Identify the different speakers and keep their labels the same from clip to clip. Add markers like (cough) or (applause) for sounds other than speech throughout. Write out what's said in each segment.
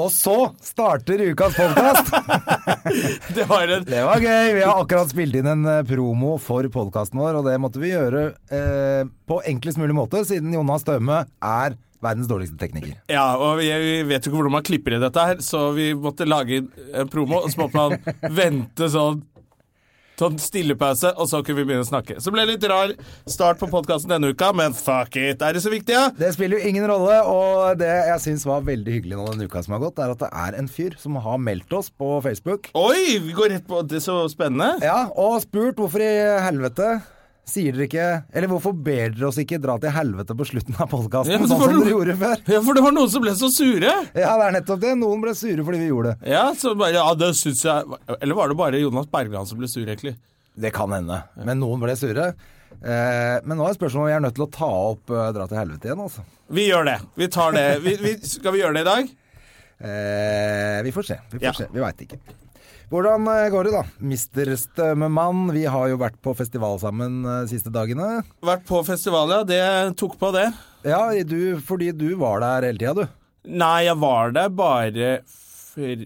Speaker 1: Og så starter ukas
Speaker 2: (laughs)
Speaker 1: podkast!
Speaker 2: Det var en
Speaker 1: Det var gøy! Vi har akkurat spilt inn en eh, promo for podkasten vår, og det måtte vi gjøre eh, på enklest mulig måte, siden Jonas Støme er verdens dårligste tekniker.
Speaker 2: Ja, og jeg vi vet jo ikke hvordan man klipper i dette her, så vi måtte lage en promo, og så måtte man vente sånn Sånn stillepause, og så kunne vi begynne å snakke. Så det ble litt rar start på podkasten denne uka, men fuck it, er det så viktig, ja?
Speaker 1: Det spiller jo ingen rolle, og det jeg syns var veldig hyggelig nå den uka som har gått, er at det er en fyr som har meldt oss på Facebook.
Speaker 2: Oi, vi går rett på Det er så spennende.
Speaker 1: Ja, og spurt hvorfor i helvete sier dere ikke Eller hvorfor ber dere oss ikke dra til helvete på slutten av podkasten,
Speaker 2: Ja, men så
Speaker 1: sånn
Speaker 2: får
Speaker 1: som
Speaker 2: du-
Speaker 1: dere gjorde før?
Speaker 2: Ja, for det var noen som ble så sure.
Speaker 1: Ja, det er nettopp det. Noen ble sure fordi vi gjorde det.
Speaker 2: Ja, så bare Ja, det syns jeg Eller var det bare Jonas Bergland som ble sur, egentlig?
Speaker 1: Det kan hende. Men noen ble sure. Eh, men nå er spørsmålet om vi er nødt til å ta opp eh, Dra til helvete igjen, altså.
Speaker 2: Vi gjør det. Vi tar det. Vi, vi, skal vi gjøre det i dag?
Speaker 1: Eh, vi får se. Vi får
Speaker 2: Ja.
Speaker 1: se. Vi veit ikke. Hvordan eh, går det, da? Mister Stømmemann, vi har jo vært på festival sammen eh, siste dagene.
Speaker 2: Vært på festival, ja. Det tok på, det.
Speaker 1: Ja, du, fordi du var der hele tida, du.
Speaker 2: Nei, jeg var der bare for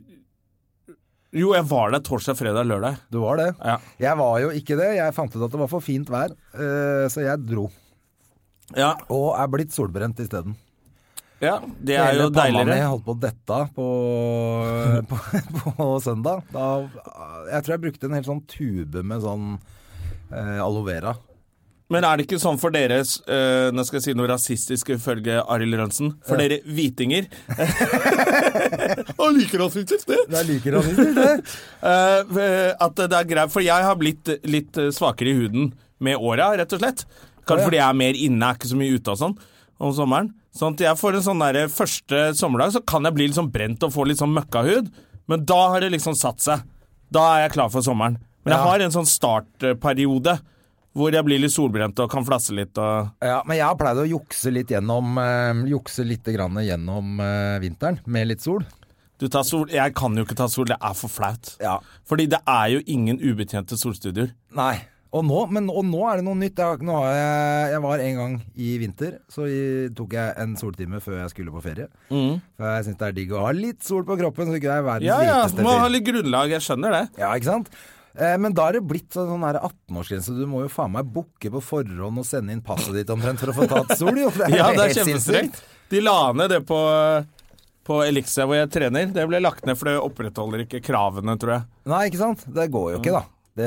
Speaker 2: Jo, jeg var der torsdag, fredag, lørdag.
Speaker 1: Du var det.
Speaker 2: Ja.
Speaker 1: Jeg var jo ikke det. Jeg fant ut at det var for fint vær, eh, så jeg dro.
Speaker 2: Ja,
Speaker 1: Og er blitt solbrent isteden.
Speaker 2: ja. Det er
Speaker 1: Hele
Speaker 2: jo
Speaker 1: panna mi
Speaker 2: deiligere.
Speaker 1: holdt på å dette på, (laughs) på, på søndag. Da, jeg tror jeg brukte en hel sånn tube med sånn eh, aloe vera.
Speaker 2: Men er det ikke sånn for dere eh, Nå skal jeg si noe rasistisk ifølge Arild Rønsen. For dere hvitinger Han liker rasistisk, det!
Speaker 1: Jeg liker rasistisk, det.
Speaker 2: Eh, at det er greit, for jeg har blitt litt eh, svakere i huden med åra, rett og slett. Kanskje
Speaker 1: Å, ja.
Speaker 2: fordi jeg er mer inne, er ikke så mye ute og sånn om sommeren. Sånn at jeg får en sånn der, Første sommerdag så kan jeg bli litt sånn brent og få litt sånn møkkahud, men da har det liksom satt seg. Da er jeg klar for sommeren. Men jeg
Speaker 1: Ja.
Speaker 2: har en sånn startperiode hvor jeg blir litt solbrent og kan flasse litt og
Speaker 1: (laughs) Ja, men jeg har pleid å jukse litt gjennom, eh, jukse litt grann gjennom eh, vinteren med litt sol.
Speaker 2: Du tar sol Jeg kan jo ikke ta sol, det er for flaut.
Speaker 1: Ja.
Speaker 2: Fordi det er jo ingen ubetjente solstudioer.
Speaker 1: Nei. Og nå, men, og nå er det noe nytt. Jeg, har- nå har jeg, jeg var en gang i vinter, så i, tok jeg en soltime før jeg skulle på ferie. For jeg syns det er digg å ha litt sol på kroppen, så ikke jeg er verdens
Speaker 2: Mm. Ja ja,
Speaker 1: hviteste
Speaker 2: må ha
Speaker 1: fyr.
Speaker 2: litt grunnlag. Jeg skjønner det.
Speaker 1: Ja, ikke sant? Eh, Men da er det blitt sånn sånn her 18-årsgrense. Du må jo faen meg booke på forhånd og sende inn passet ditt omtrent for å få tatt sol, jo. (laughs) For
Speaker 2: Ja, det er
Speaker 1: helt
Speaker 2: kjempestrengt. De la ned det på, på Elixia hvor jeg trener. Det ble lagt ned, for det opprettholder ikke kravene, tror jeg.
Speaker 1: Nei, ikke sant? Det går jo ikke, da. Det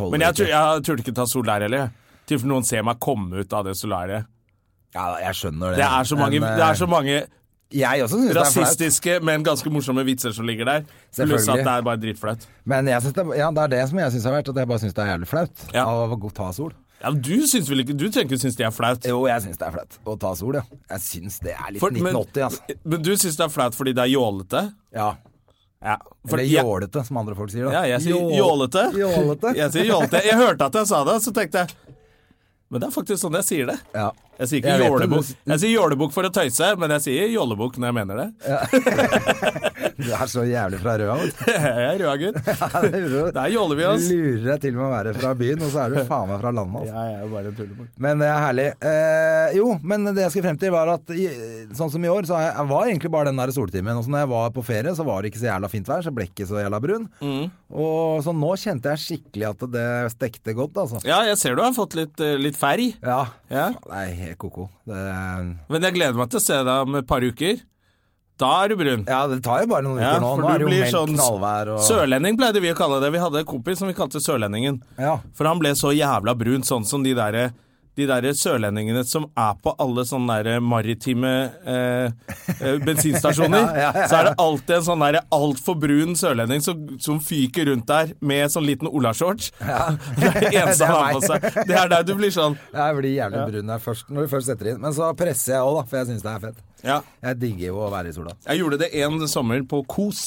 Speaker 1: holder
Speaker 2: Men jeg,
Speaker 1: ikke.
Speaker 2: tur, jeg turte ikke ta sol der heller. Til noen ser meg komme ut av det solariet.
Speaker 1: Ja, jeg skjønner det.
Speaker 2: Det er så mange,
Speaker 1: Men, eh,
Speaker 2: det er så mange
Speaker 1: Jeg også synes det er flaut.
Speaker 2: rasistiske, men ganske morsomme vitser som ligger der. Pluss at
Speaker 1: Selvfølgelig.
Speaker 2: det er bare dritflaut.
Speaker 1: Men jeg synes det, ja, det er det som jeg syns har vært, at jeg bare syns det er jævlig flaut
Speaker 2: Ja.
Speaker 1: av å gå- ta sol.
Speaker 2: Ja, men du syns vel ikke Du trenger ikke synes det er flaut.
Speaker 1: Jo, jeg syns det er flaut å ta sol, ja. Jeg syns det er litt
Speaker 2: For- men,
Speaker 1: 1980, altså.
Speaker 2: men du syns det er flaut fordi det er jålete?
Speaker 1: Ja.
Speaker 2: Ja. for
Speaker 1: Eller
Speaker 2: jeg-
Speaker 1: jålete, som andre folk sier. da.
Speaker 2: Ja, jeg sier
Speaker 1: Jål-
Speaker 2: jålete.
Speaker 1: Jålete.
Speaker 2: Jeg sier jålete. Jeg hørte at jeg sa det, så tenkte jeg Men det er faktisk sånn jeg sier det.
Speaker 1: Ja.
Speaker 2: Jeg sier
Speaker 1: Jeg
Speaker 2: ikke
Speaker 1: vet det,
Speaker 2: jålebukk.
Speaker 1: du-
Speaker 2: Jeg sier jålebukk for å tøyse, men jeg sier jålebukk når jeg mener (laughs) det.
Speaker 1: Du er så jævlig fra Røa, vet du.
Speaker 2: Jeg er røa gutt.
Speaker 1: Ja, (laughs) det gjorde du.
Speaker 2: Der jåler vi oss.
Speaker 1: Lurer deg til med å være fra byen, og så
Speaker 2: (laughs)
Speaker 1: er du faen meg fra landet. Altså.
Speaker 2: jeg er bare en tullebukk.
Speaker 1: Men det er herlig. Eh, jo, men det jeg skulle frem til, var at i, sånn som i år, så har jeg, jeg var egentlig bare den der soltimen. Og så når jeg var på ferie, så var det ikke så jævla fint vær, så jeg ble ikke så jævla brun.
Speaker 2: Mm.
Speaker 1: Og så nå kjente jeg skikkelig at det stekte godt, altså.
Speaker 2: Ja, jeg ser du har fått litt, eh, litt ferg.
Speaker 1: Ja.
Speaker 2: Ja.
Speaker 1: Faen, Det er helt ko-ko. Det, er-
Speaker 2: Men jeg gleder meg til å se deg om et par uker. Da er du brun.
Speaker 1: ja, det tar jo bare noen uker
Speaker 2: Ja,
Speaker 1: nå. Nå
Speaker 2: for du
Speaker 1: er det jo
Speaker 2: blir
Speaker 1: meldt
Speaker 2: sånn
Speaker 1: knallvær og
Speaker 2: Sørlending pleide vi å kalle det. Vi hadde en kompis som vi kalte Sørlendingen.
Speaker 1: Ja.
Speaker 2: For han ble så jævla brun, sånn som de der de der sørlendingene som er på alle sånne der maritime eh, eh,
Speaker 1: (laughs)
Speaker 2: bensinstasjoner. Så er det alltid en sånn der altfor brun sørlending som, som fyker rundt der med sånn liten olashorts. (laughs) Det er det
Speaker 1: (laughs) Det er
Speaker 2: eneste han har
Speaker 1: meg.
Speaker 2: på seg. Det er der du blir sånn
Speaker 1: Jeg blir jævlig brun der først, når du først setter inn. Men så presser jeg òg, da, for jeg syns det er fett.
Speaker 2: Ja.
Speaker 1: Jeg digger jo å være i sola.
Speaker 2: Jeg gjorde det en sommer på Kos.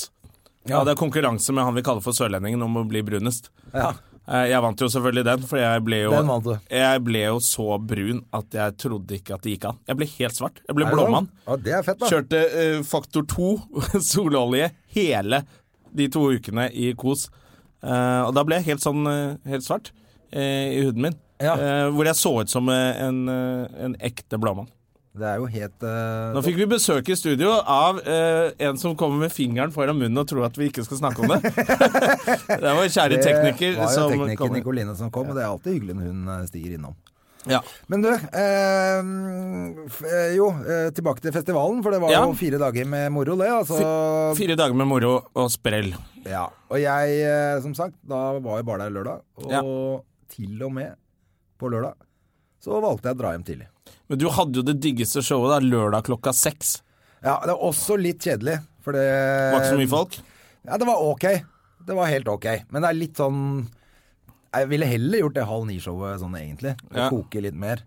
Speaker 2: Jeg hadde konkurranse med han vi kaller for sørlendingen om å bli brunest.
Speaker 1: Ja.
Speaker 2: Eh, Jeg vant jo selvfølgelig den, for jeg ble jo,
Speaker 1: Den vant du.
Speaker 2: jeg ble jo så brun at jeg trodde ikke at det gikk an. Jeg ble helt svart. Jeg ble
Speaker 1: Er det sånn?
Speaker 2: blåmann.
Speaker 1: Ja, det er fett, da.
Speaker 2: Kjørte eh, faktor to (laughs) sololje hele de to ukene i kos. Eh, og da ble jeg helt sånn eh, helt svart eh, i huden min.
Speaker 1: Ja.
Speaker 2: Eh, hvor jeg så ut som eh, en, eh, en ekte blåmann.
Speaker 1: Det er jo helt
Speaker 2: Nå
Speaker 1: eh,
Speaker 2: fikk vi besøk i studio av eh, en som kommer med fingeren foran munnen og tror at vi ikke skal snakke om det. (laughs) det var kjære tekniker.
Speaker 1: Det var jo
Speaker 2: som
Speaker 1: tekniker
Speaker 2: kom.
Speaker 1: Nikoline som kom, og det er alltid hyggelig når hun eh, stiger innom.
Speaker 2: Ja.
Speaker 1: Men du, eh, f- eh, jo, eh, tilbake til festivalen, for det var
Speaker 2: Ja.
Speaker 1: jo fire dager med moro, det. Altså,
Speaker 2: Fire dager med moro og sprell.
Speaker 1: ja. Og jeg, eh, som sagt, da var jeg bare der lørdag, og
Speaker 2: Ja.
Speaker 1: til og med på lørdag så valgte jeg å dra hjem tidlig.
Speaker 2: Men du hadde jo det diggeste showet da, lørdag klokka seks.
Speaker 1: Ja, det var også litt kjedelig, for det
Speaker 2: Det var ikke
Speaker 1: Eh,
Speaker 2: så mye folk.
Speaker 1: Ja, det var ok. Det var helt ok. Men det er litt sånn Jeg ville heller gjort det halv ni-showet sånn, egentlig. Det
Speaker 2: Ja.
Speaker 1: Koke litt mer.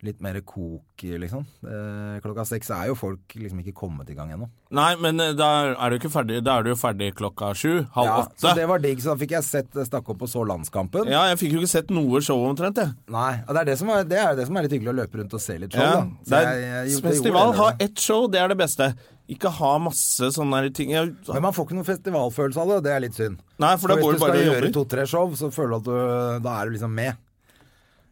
Speaker 1: Litt mer kok, liksom. Eh, klokka seks er jo folk liksom ikke kommet i gang ennå.
Speaker 2: Nei, men eh, da er du, ikke ferdig. Da er du jo ferdig klokka sju, halv
Speaker 1: Ja, så
Speaker 2: åtte.
Speaker 1: det var digg, så da fikk jeg sett eh, stakke opp på Så landskampen.
Speaker 2: Ja, jeg fikk jo ikke sett noe show omtrent, jeg.
Speaker 1: Nei, og det er det, som er, det er jo det som er litt hyggelig, å løpe rundt og se litt show,
Speaker 2: Ja,
Speaker 1: da. Så
Speaker 2: det
Speaker 1: jeg- jeg
Speaker 2: er,
Speaker 1: gjorde-
Speaker 2: festival,
Speaker 1: gjorde
Speaker 2: ha
Speaker 1: det.
Speaker 2: ett show, det er det beste. Ikke ha masse sånne her ting. Jeg,
Speaker 1: Men man får ikke noen festivalfølelse av det, og det er litt synd.
Speaker 2: Nei, for da går
Speaker 1: hvis du
Speaker 2: du bare
Speaker 1: skal
Speaker 2: og
Speaker 1: gjøre
Speaker 2: jobber.
Speaker 1: to-tre show, så føler du at du Da er du liksom med.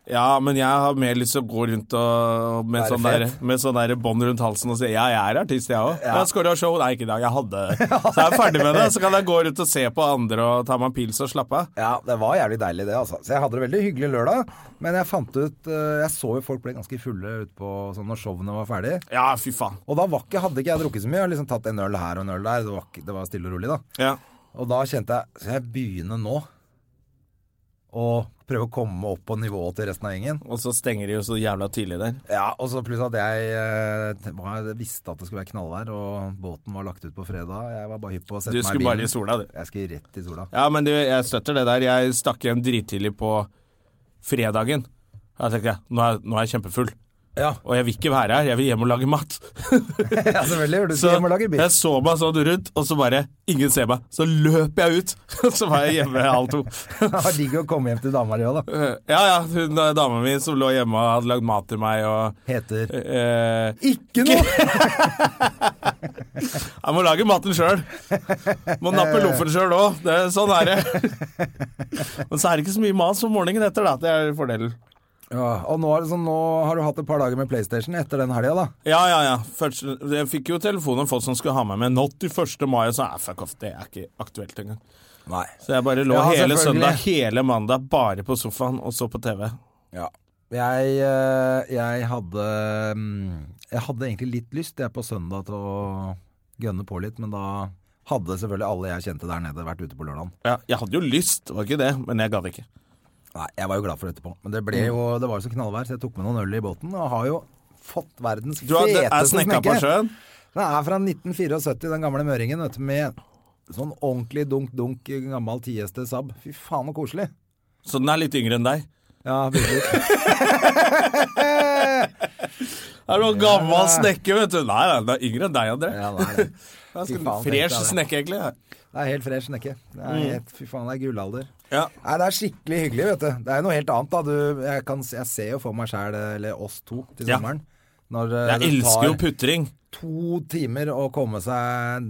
Speaker 2: Ja, men jeg har mer lyst til å gå rundt og, med,
Speaker 1: Være
Speaker 2: sånn
Speaker 1: fet.
Speaker 2: der, med sånn der bånd rundt halsen og si ja, jeg er artist, jeg òg. Ja. Skal du ha show? Nei, ikke i dag. (laughs) Jeg hadde Så er jeg ferdig med det. Så kan jeg gå rundt og se på andre og ta meg en pils og slappe av.
Speaker 1: Ja, det var jævlig deilig det, altså. Så jeg hadde det veldig hyggelig lørdag, men jeg fant ut eh, Jeg så jo folk ble ganske fulle ute på sånn når showene var ferdig.
Speaker 2: Ja, fy faen.
Speaker 1: Og da var ikke, hadde ikke jeg drukket så mye. Jeg hadde liksom tatt en øl her og en øl der. Det var, ikke, det var stille og rolig, da.
Speaker 2: Ja.
Speaker 1: Og da kjente jeg Skal jeg begynne nå? Og prøve å komme opp på nivået til resten av gjengen?
Speaker 2: Og så stenger de jo så jævla tidlig der.
Speaker 1: Ja, og så pluss at jeg eh, var- visste at det skulle være knallvær, og båten var lagt ut på fredag. Jeg var bare hypp på å sette
Speaker 2: Du
Speaker 1: meg i
Speaker 2: skulle
Speaker 1: bilen.
Speaker 2: bare i sola, du.
Speaker 1: Jeg skulle rett i sola.
Speaker 2: Ja, men du, jeg støtter det der. Jeg stakk hjem drittidlig på fredagen. Da tenkte jeg nå er, nå er jeg kjempefull.
Speaker 1: Ja,
Speaker 2: Og jeg vil ikke være her, jeg vil hjem og lage mat.
Speaker 1: ja selvfølgelig. Du
Speaker 2: Så
Speaker 1: skal hjem og lage biff.
Speaker 2: jeg
Speaker 1: (laughs)
Speaker 2: så meg sånn rundt, og så bare Ingen ser meg. Så løp jeg ut, (laughs) og så var jeg hjemme halv to. (laughs)
Speaker 1: Det var digg å komme hjem til dama di òg, da.
Speaker 2: Eh, Ja, ja, hun eh, dama mi som lå hjemme og hadde lagd mat til meg og
Speaker 1: Heter
Speaker 2: eh,
Speaker 1: Ikke (laughs) noe!
Speaker 2: Jeg må lage maten sjøl. Må nappe loffen sjøl òg. Sånn er det.
Speaker 1: (laughs)
Speaker 2: Men så er det ikke så mye mas om morgenen etter, da. Det er fordelen.
Speaker 1: Ja, og nå, er det sånn, nå har du hatt et par dager med PlayStation etter den helga, da.
Speaker 2: Ja, ja, ja. Først, jeg fikk jo telefon om folk som skulle ha meg med Not i 1. mai, og så er fuck off, det er ikke aktuelt engang.
Speaker 1: Nei.
Speaker 2: Så jeg bare lå
Speaker 1: Ja,
Speaker 2: hele
Speaker 1: selvfølgelig.
Speaker 2: søndag, hele mandag, bare på sofaen og så på TV.
Speaker 1: Ja. Jeg, eh, jeg hadde mm, Jeg hadde egentlig litt lyst jeg på søndag til å gønne på litt, men da hadde selvfølgelig alle jeg kjente der nede, vært ute på lørdagen.
Speaker 2: Ja, jeg hadde jo lyst, det var ikke det, men jeg gadd ikke.
Speaker 1: Nei, jeg var jo glad for det etterpå. Men det, ble jo, det var jo så knallvær, så jeg tok med noen øl i båten, og har jo fått verdens
Speaker 2: Du hadde, er
Speaker 1: feteste
Speaker 2: snekka på
Speaker 1: snekke.
Speaker 2: sjøen?
Speaker 1: Den er fra 1974, den gamle møringen, vet du, med sånn ordentlig dunk-dunk gammel tieste Saab. Fy faen, så koselig.
Speaker 2: Så den er litt yngre enn deg?
Speaker 1: Ja,
Speaker 2: (laughs)
Speaker 1: virkelig.
Speaker 2: Er du en gammel snekke, vet du? Nei, nei, den er yngre enn deg, André.
Speaker 1: ja, det (laughs) er det. Fy faen,
Speaker 2: Fresh
Speaker 1: tenkte jeg det.
Speaker 2: snekke, egentlig.
Speaker 1: Det er helt fresh snekke. Det
Speaker 2: Mm.
Speaker 1: er helt, fy faen, det er gullalder.
Speaker 2: Ja.
Speaker 1: Nei, det er skikkelig hyggelig, vet du. Det er jo noe helt annet, da. Du, jeg, kan, jeg ser jo for meg sjæl, eller oss to, til
Speaker 2: Ja.
Speaker 1: sommeren. Når eh,
Speaker 2: Jeg
Speaker 1: det
Speaker 2: elsker jo
Speaker 1: tar
Speaker 2: putring.
Speaker 1: to timer å komme seg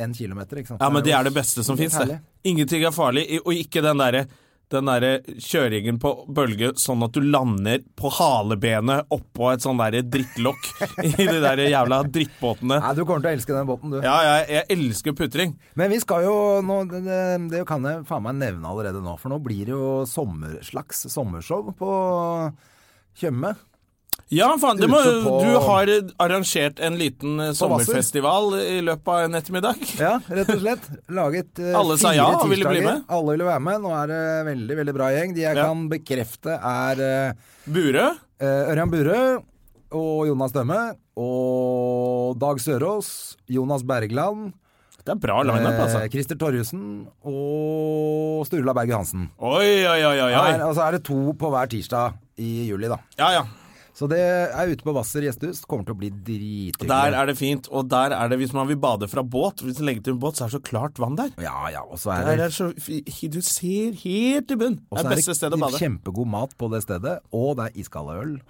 Speaker 1: en kilometer, ikke sant.
Speaker 2: Ja, men det
Speaker 1: jo
Speaker 2: er det beste som
Speaker 1: helt
Speaker 2: fins, det.
Speaker 1: herlig.
Speaker 2: Ingenting er farlig, i- og ikke den derre den der kjøringen på bølge sånn at du lander på halebenet oppå et sånn derre drittlokk (laughs) i de der jævla drittbåtene.
Speaker 1: Nei, du kommer til å elske den båten, du.
Speaker 2: Ja, jeg, jeg elsker putring.
Speaker 1: Men vi skal jo nå, det, det- det kan jeg faen meg nevne allerede nå, for nå blir det jo sommer, slags sommershow på Tjøme.
Speaker 2: Ja, faen, det må,
Speaker 1: Ute på-
Speaker 2: du har arrangert en liten eh, sommerfestival i løpet av en ettermiddag. (laughs)
Speaker 1: Ja, rett og slett. Laget eh,
Speaker 2: Alle sa
Speaker 1: fire
Speaker 2: ja og
Speaker 1: tirsdager.
Speaker 2: ville bli med.
Speaker 1: Alle ville være med. Nå er det veldig, veldig bra gjeng. De jeg
Speaker 2: Ja.
Speaker 1: kan bekrefte er eh,
Speaker 2: Burø?
Speaker 1: Eh, Ørjan Burøe og Jonas Dømme og Dag Sørås, Jonas Bergland,
Speaker 2: Det er bra lineup, altså.
Speaker 1: eh, Christer Torjussen og Sturla Berge Hansen.
Speaker 2: Oi, oi, oi, oi.
Speaker 1: Her,
Speaker 2: oi.
Speaker 1: og så er det to på hver tirsdag i juli, da.
Speaker 2: Ja, ja.
Speaker 1: Så det er ute på Hvasser gjestehus. Kommer til å bli
Speaker 2: Der
Speaker 1: drithyggelig.
Speaker 2: er det fint, og der er det hvis man vil bade fra båt. Hvis man legger til en båt, så er det så klart vann der.
Speaker 1: Ja, ja, og så er
Speaker 2: Der
Speaker 1: det,
Speaker 2: er det så, fi- du ser helt til bunn.
Speaker 1: og
Speaker 2: Det
Speaker 1: så
Speaker 2: er
Speaker 1: er
Speaker 2: beste stedet å
Speaker 1: det
Speaker 2: bade.
Speaker 1: kjempegod mat på det stedet, og det er iskald øl.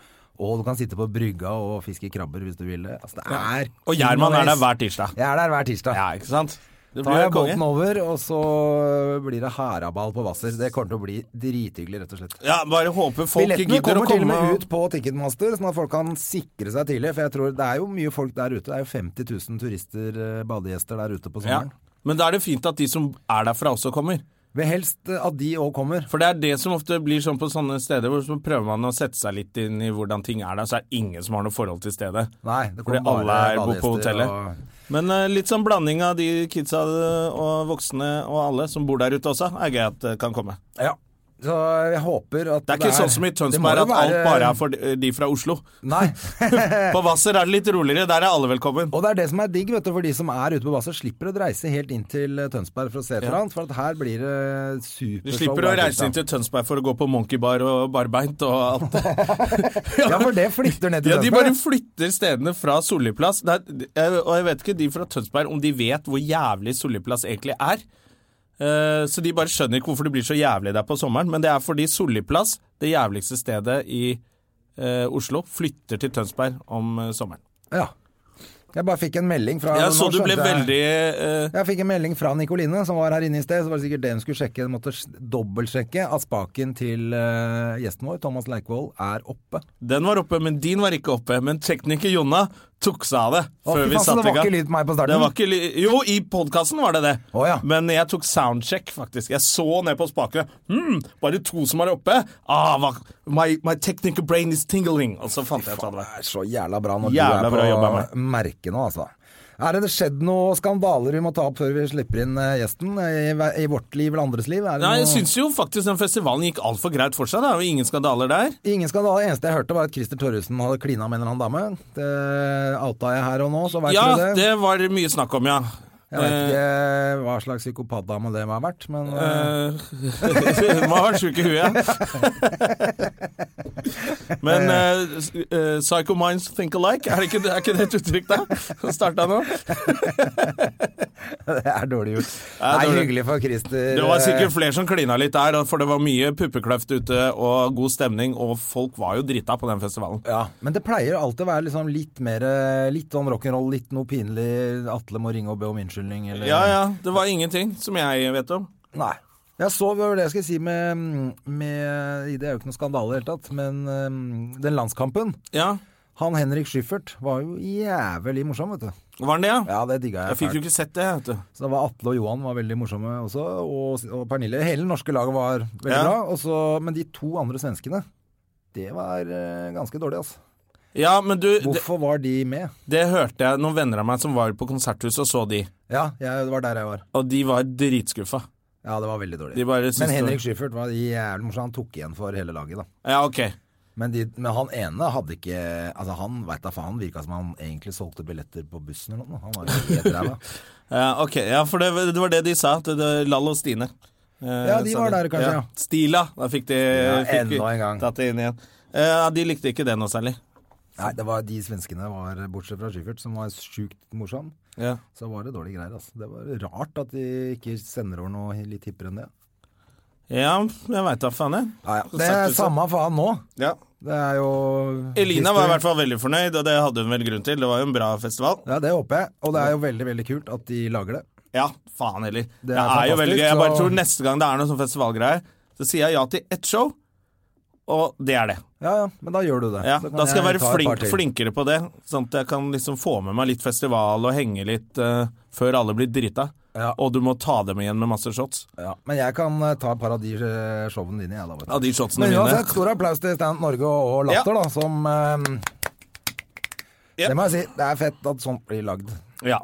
Speaker 1: Og du kan sitte på brygga og fiske krabber hvis du vil det. Altså, det er
Speaker 2: Og Gjerman er der hver tirsdag.
Speaker 1: Jeg er der hver tirsdag.
Speaker 2: Ja, ikke sant? Det
Speaker 1: Da
Speaker 2: blir
Speaker 1: er
Speaker 2: jo
Speaker 1: båten
Speaker 2: konge.
Speaker 1: over, og så blir det haraball på Hvasser. Det kommer til å bli drithyggelig, rett og slett.
Speaker 2: Ja, bare håper folk
Speaker 1: Billettene
Speaker 2: gidder å
Speaker 1: kommer til og
Speaker 2: komme.
Speaker 1: med
Speaker 2: og-
Speaker 1: ut på Ticketmaster, sånn at folk kan sikre seg tidlig. For jeg tror det er jo mye folk der ute. Det er jo 50 000 turister, eh, badegjester der ute på
Speaker 2: Ja.
Speaker 1: sommeren.
Speaker 2: Men da er det fint at de som er derfra, også kommer.
Speaker 1: Vil helst eh, at de òg kommer.
Speaker 2: For det er det som ofte blir sånn på sånne steder, hvor så prøver man å sette seg litt inn i hvordan ting er der, så er det ingen som har noe forhold til stedet.
Speaker 1: Nei, det
Speaker 2: Fordi
Speaker 1: kommer bare
Speaker 2: alle er på- på
Speaker 1: badegjester
Speaker 2: hotellet.
Speaker 1: og-
Speaker 2: Men eh, litt sånn blanding av de kidsa eh, og voksne og alle som bor der ute også, er gøy at det kan komme.
Speaker 1: Ja. Så jeg håper at
Speaker 2: Det er ikke sånn som i
Speaker 1: Det må
Speaker 2: Tønsberg
Speaker 1: jo
Speaker 2: at alt
Speaker 1: være-
Speaker 2: bare er for de- de fra Oslo. (laughs)
Speaker 1: Nei. (laughs)
Speaker 2: På Hvasser er det litt roligere, der er alle velkommen.
Speaker 1: Og det er det som er digg, vet du, for de som er ute på Hvasser, slipper å reise helt inn til eh, Tønsberg for å se et eller annet, for at her blir det
Speaker 2: Du
Speaker 1: supershow.
Speaker 2: slipper å
Speaker 1: hver
Speaker 2: reise
Speaker 1: tirsdag.
Speaker 2: inn til Tønsberg for å gå på monkeybar og barbeint og alt
Speaker 1: (laughs) Ja, for det flytter ned til
Speaker 2: (laughs) Ja,
Speaker 1: Tønsberg.
Speaker 2: de bare flytter stedene fra Solli plass. Det er- jeg- Og jeg vet ikke de fra Tønsberg om de vet hvor jævlig Solli plass egentlig er. Eh, Så de bare skjønner ikke hvorfor det blir så jævlig der på sommeren. Men det er fordi Solli plass, det jævligste stedet i eh, Oslo, flytter til Tønsberg om eh, sommeren.
Speaker 1: Ja. Jeg bare fikk en melding fra
Speaker 2: Jeg
Speaker 1: nå
Speaker 2: så du ble
Speaker 1: skjønte jeg-
Speaker 2: veldig eh,
Speaker 1: Jeg fikk en melding fra Nikoline, som var her inne i sted. Så var det sikkert det hun skulle sjekke. Hun måtte s- dobbeltsjekke at spaken til eh, gjesten vår, Thomas Leikvoll, er oppe.
Speaker 2: Den var oppe, men din var ikke oppe. Men tekniker Jonna tok seg av det
Speaker 1: Å,
Speaker 2: før
Speaker 1: fy
Speaker 2: vi
Speaker 1: faen, så
Speaker 2: satte
Speaker 1: det
Speaker 2: i
Speaker 1: var
Speaker 2: gang.
Speaker 1: ikke lyd på meg på starten?
Speaker 2: Det var ikke ly- jo, i podkasten var det det.
Speaker 1: Å, ja.
Speaker 2: Men jeg tok soundcheck, faktisk. Jeg så ned på spakene. Hmm, bare to som er oppe. Ah, hva, my, my technical brain is tingling. Og så fant jeg ut hva det var.
Speaker 1: Det er så jævla bra når
Speaker 2: Jævla
Speaker 1: du
Speaker 2: bra
Speaker 1: er
Speaker 2: jobba,
Speaker 1: på merket nå, altså. Er det skjedd noen skandaler vi må ta opp før vi slipper inn eh, gjesten? I, I vårt liv eller andres liv? Er det
Speaker 2: Nei, jeg
Speaker 1: noe-
Speaker 2: syns jo faktisk den festivalen gikk altfor greit for seg. Det er jo ingen skandaler der.
Speaker 1: Ingen skandale. Eneste jeg hørte, var at Christer Torjussen hadde klina med en eller annen dame. Det outa jeg her og nå, så veit
Speaker 2: Ja,
Speaker 1: dere det.
Speaker 2: det var mye snakk om, ja.
Speaker 1: Jeg veit ikke hva slags psykopatdame det må ha vært, men eh,
Speaker 2: Eh, (laughs) Må ha vært sjuk i huet. Men eh, s- eh, Psycho Minds Think Alike, er, det ikke, er ikke det et uttrykk der? Starta nå?
Speaker 1: (laughs) det er dårlig gjort.
Speaker 2: (laughs)
Speaker 1: Det
Speaker 2: er
Speaker 1: er
Speaker 2: dårlig.
Speaker 1: hyggelig for Christer. eh,
Speaker 2: Det var sikkert flere som klina litt der, for det var mye puppekløft ute og god stemning, og folk var jo drita på den festivalen.
Speaker 1: ja, Men det pleier alltid å være liksom litt mer eh, Litt om rock'n'roll, litt noe pinlig. Atle må ringe og be om unnskyldning, eller
Speaker 2: Ja ja, det var ingenting som jeg vet om.
Speaker 1: Nei. Jeg så hva var det jeg skulle si med, med Det er jo ikke noen skandale i det hele tatt, men eh, den landskampen
Speaker 2: Ja,
Speaker 1: Han Henrik Schyffert var jo jævlig morsom, vet du.
Speaker 2: var den det, ja?
Speaker 1: Ja, det digga jeg.
Speaker 2: Jeg fikk
Speaker 1: fælt.
Speaker 2: jo ikke sett det, vet du.
Speaker 1: Så det var Atle og Johan var veldig morsomme også, og, og Pernille. Hele det norske laget var veldig
Speaker 2: Ja.
Speaker 1: bra, og så- men de to andre svenskene, det var eh, ganske dårlig, altså.
Speaker 2: Ja, men du, det,
Speaker 1: Hvorfor var de med?
Speaker 2: det hørte jeg noen venner av meg som var på konserthuset og så de,
Speaker 1: Ja, jeg, det var der jeg var.
Speaker 2: og de var dritskuffa.
Speaker 1: Ja, det var veldig
Speaker 2: De
Speaker 1: dårlig.
Speaker 2: bare syntes
Speaker 1: Men
Speaker 2: det-
Speaker 1: Henrik Schyffert var jævlig morsom. Han tok igjen for hele laget, da.
Speaker 2: Ja, ok.
Speaker 1: Men, de, men han ene hadde ikke Altså, han veit da faen. Virka som han egentlig solgte billetter på bussen eller noe. Han var jo helt
Speaker 2: (laughs)
Speaker 1: ræva.
Speaker 2: Ja, Eh, ok. Ja, for det, det var det de sa. Det, det, Lall og Stine. Eh,
Speaker 1: Ja, de
Speaker 2: sa
Speaker 1: var der kanskje, ja.
Speaker 2: Stila. Da fikk de
Speaker 1: Stila,
Speaker 2: fikk vi
Speaker 1: enda en gang.
Speaker 2: tatt det inn igjen. Eh, de likte ikke det noe særlig.
Speaker 1: Nei, det var de svenskene var, bortsett fra Schyffert, som var sjukt morsom.
Speaker 2: Ja.
Speaker 1: Så var det dårlige greier, altså. Det var rart at de ikke sender over noe litt hippere enn det.
Speaker 2: jeg veit da faen, jeg.
Speaker 1: Ja, ja. Det er samme faen nå.
Speaker 2: Ja.
Speaker 1: Det er jo
Speaker 2: Elina var i hvert fall veldig fornøyd, og det hadde hun vel grunn til. Det var jo en bra festival.
Speaker 1: Ja, det håper jeg. Og det er jo veldig, veldig kult at de lager det.
Speaker 2: Ja, faen heller. Det
Speaker 1: er
Speaker 2: er, jo veldig gøy.
Speaker 1: fantastisk,
Speaker 2: Jeg bare
Speaker 1: så-
Speaker 2: tror neste gang det er noe sånn festivalgreier, så sier jeg ja til ett show, og det er det.
Speaker 1: Ja, ja, men da gjør du det.
Speaker 2: Ja,
Speaker 1: Så kan
Speaker 2: da skal jeg være
Speaker 1: ta et par
Speaker 2: flink,
Speaker 1: til.
Speaker 2: flinkere på det, sånn at jeg kan liksom få med meg litt festival og henge litt eh, før alle blir drita.
Speaker 1: Ja.
Speaker 2: Og du må ta dem igjen med masse shots.
Speaker 1: Ja, men jeg kan eh, ta et par av de eh, showene dine, jeg, da. vet du.
Speaker 2: Ja, de shotsene
Speaker 1: Men
Speaker 2: mine.
Speaker 1: uansett, stor applaus til Stand Norge og, og Latter, da, som eh,
Speaker 2: Ja.
Speaker 1: Det må jeg si, det er fett at sånt blir lagd.
Speaker 2: Ja.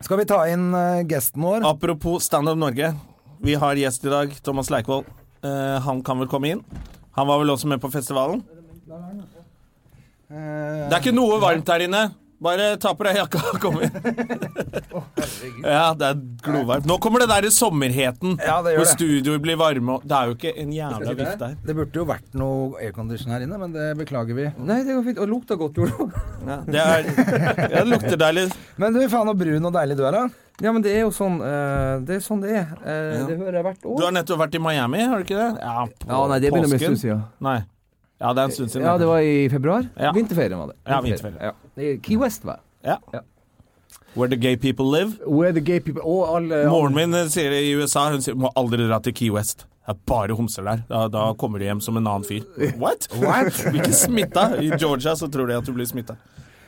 Speaker 1: Skal vi ta inn eh, gesten
Speaker 2: Ah,
Speaker 1: vår?
Speaker 2: Apropos Standup Norge. Vi har gjest i dag, Thomas Leikvoll. Eh, han kan vel komme inn? Han var vel også med på festivalen?
Speaker 1: Eh,
Speaker 2: Det er ikke noe varmt her inne. Bare ta på deg jakka og kom inn. ja, det er glovarmt. Nå kommer det der i sommerheten.
Speaker 1: Ja, det gjør
Speaker 2: hvor
Speaker 1: det.
Speaker 2: studioer blir varme og Det er jo ikke en jævla
Speaker 1: det,
Speaker 2: vift der.
Speaker 1: det burde jo vært noe aircondition her inne, men det beklager vi.
Speaker 3: Nei, det går fint. Og lukta godt, gjorde det.
Speaker 2: Det, er, ja, det lukter deilig.
Speaker 1: (laughs) Men du, faen så brun og deilig du er, da.
Speaker 3: Ja, men det er jo sånn eh, Det er sånn det er. Eh, Det hører jeg hvert
Speaker 2: Du
Speaker 3: år.
Speaker 2: har nettopp vært i Miami, har du ikke det? Ja, på,
Speaker 3: Ja, nei, det begynner med en stund
Speaker 2: påsken.
Speaker 3: siden.
Speaker 2: Nei. Ja, det er en stund siden.
Speaker 3: Ja, det var i februar.
Speaker 2: Ja.
Speaker 3: Vinterferien var det.
Speaker 2: Ja, vinterferien.
Speaker 3: Ja. I Key West, var jeg.
Speaker 2: Where the gay people live.
Speaker 3: Where the gay people Og alle
Speaker 2: Moren min eh, sier det i USA, hun sier må aldri dra til Key West. Det er bare homser der. Da, da kommer du hjem som en annen
Speaker 3: (laughs)
Speaker 2: fyr. What? What? Du (laughs) blir ikke smitta. I Georgia så tror de at du blir smitta.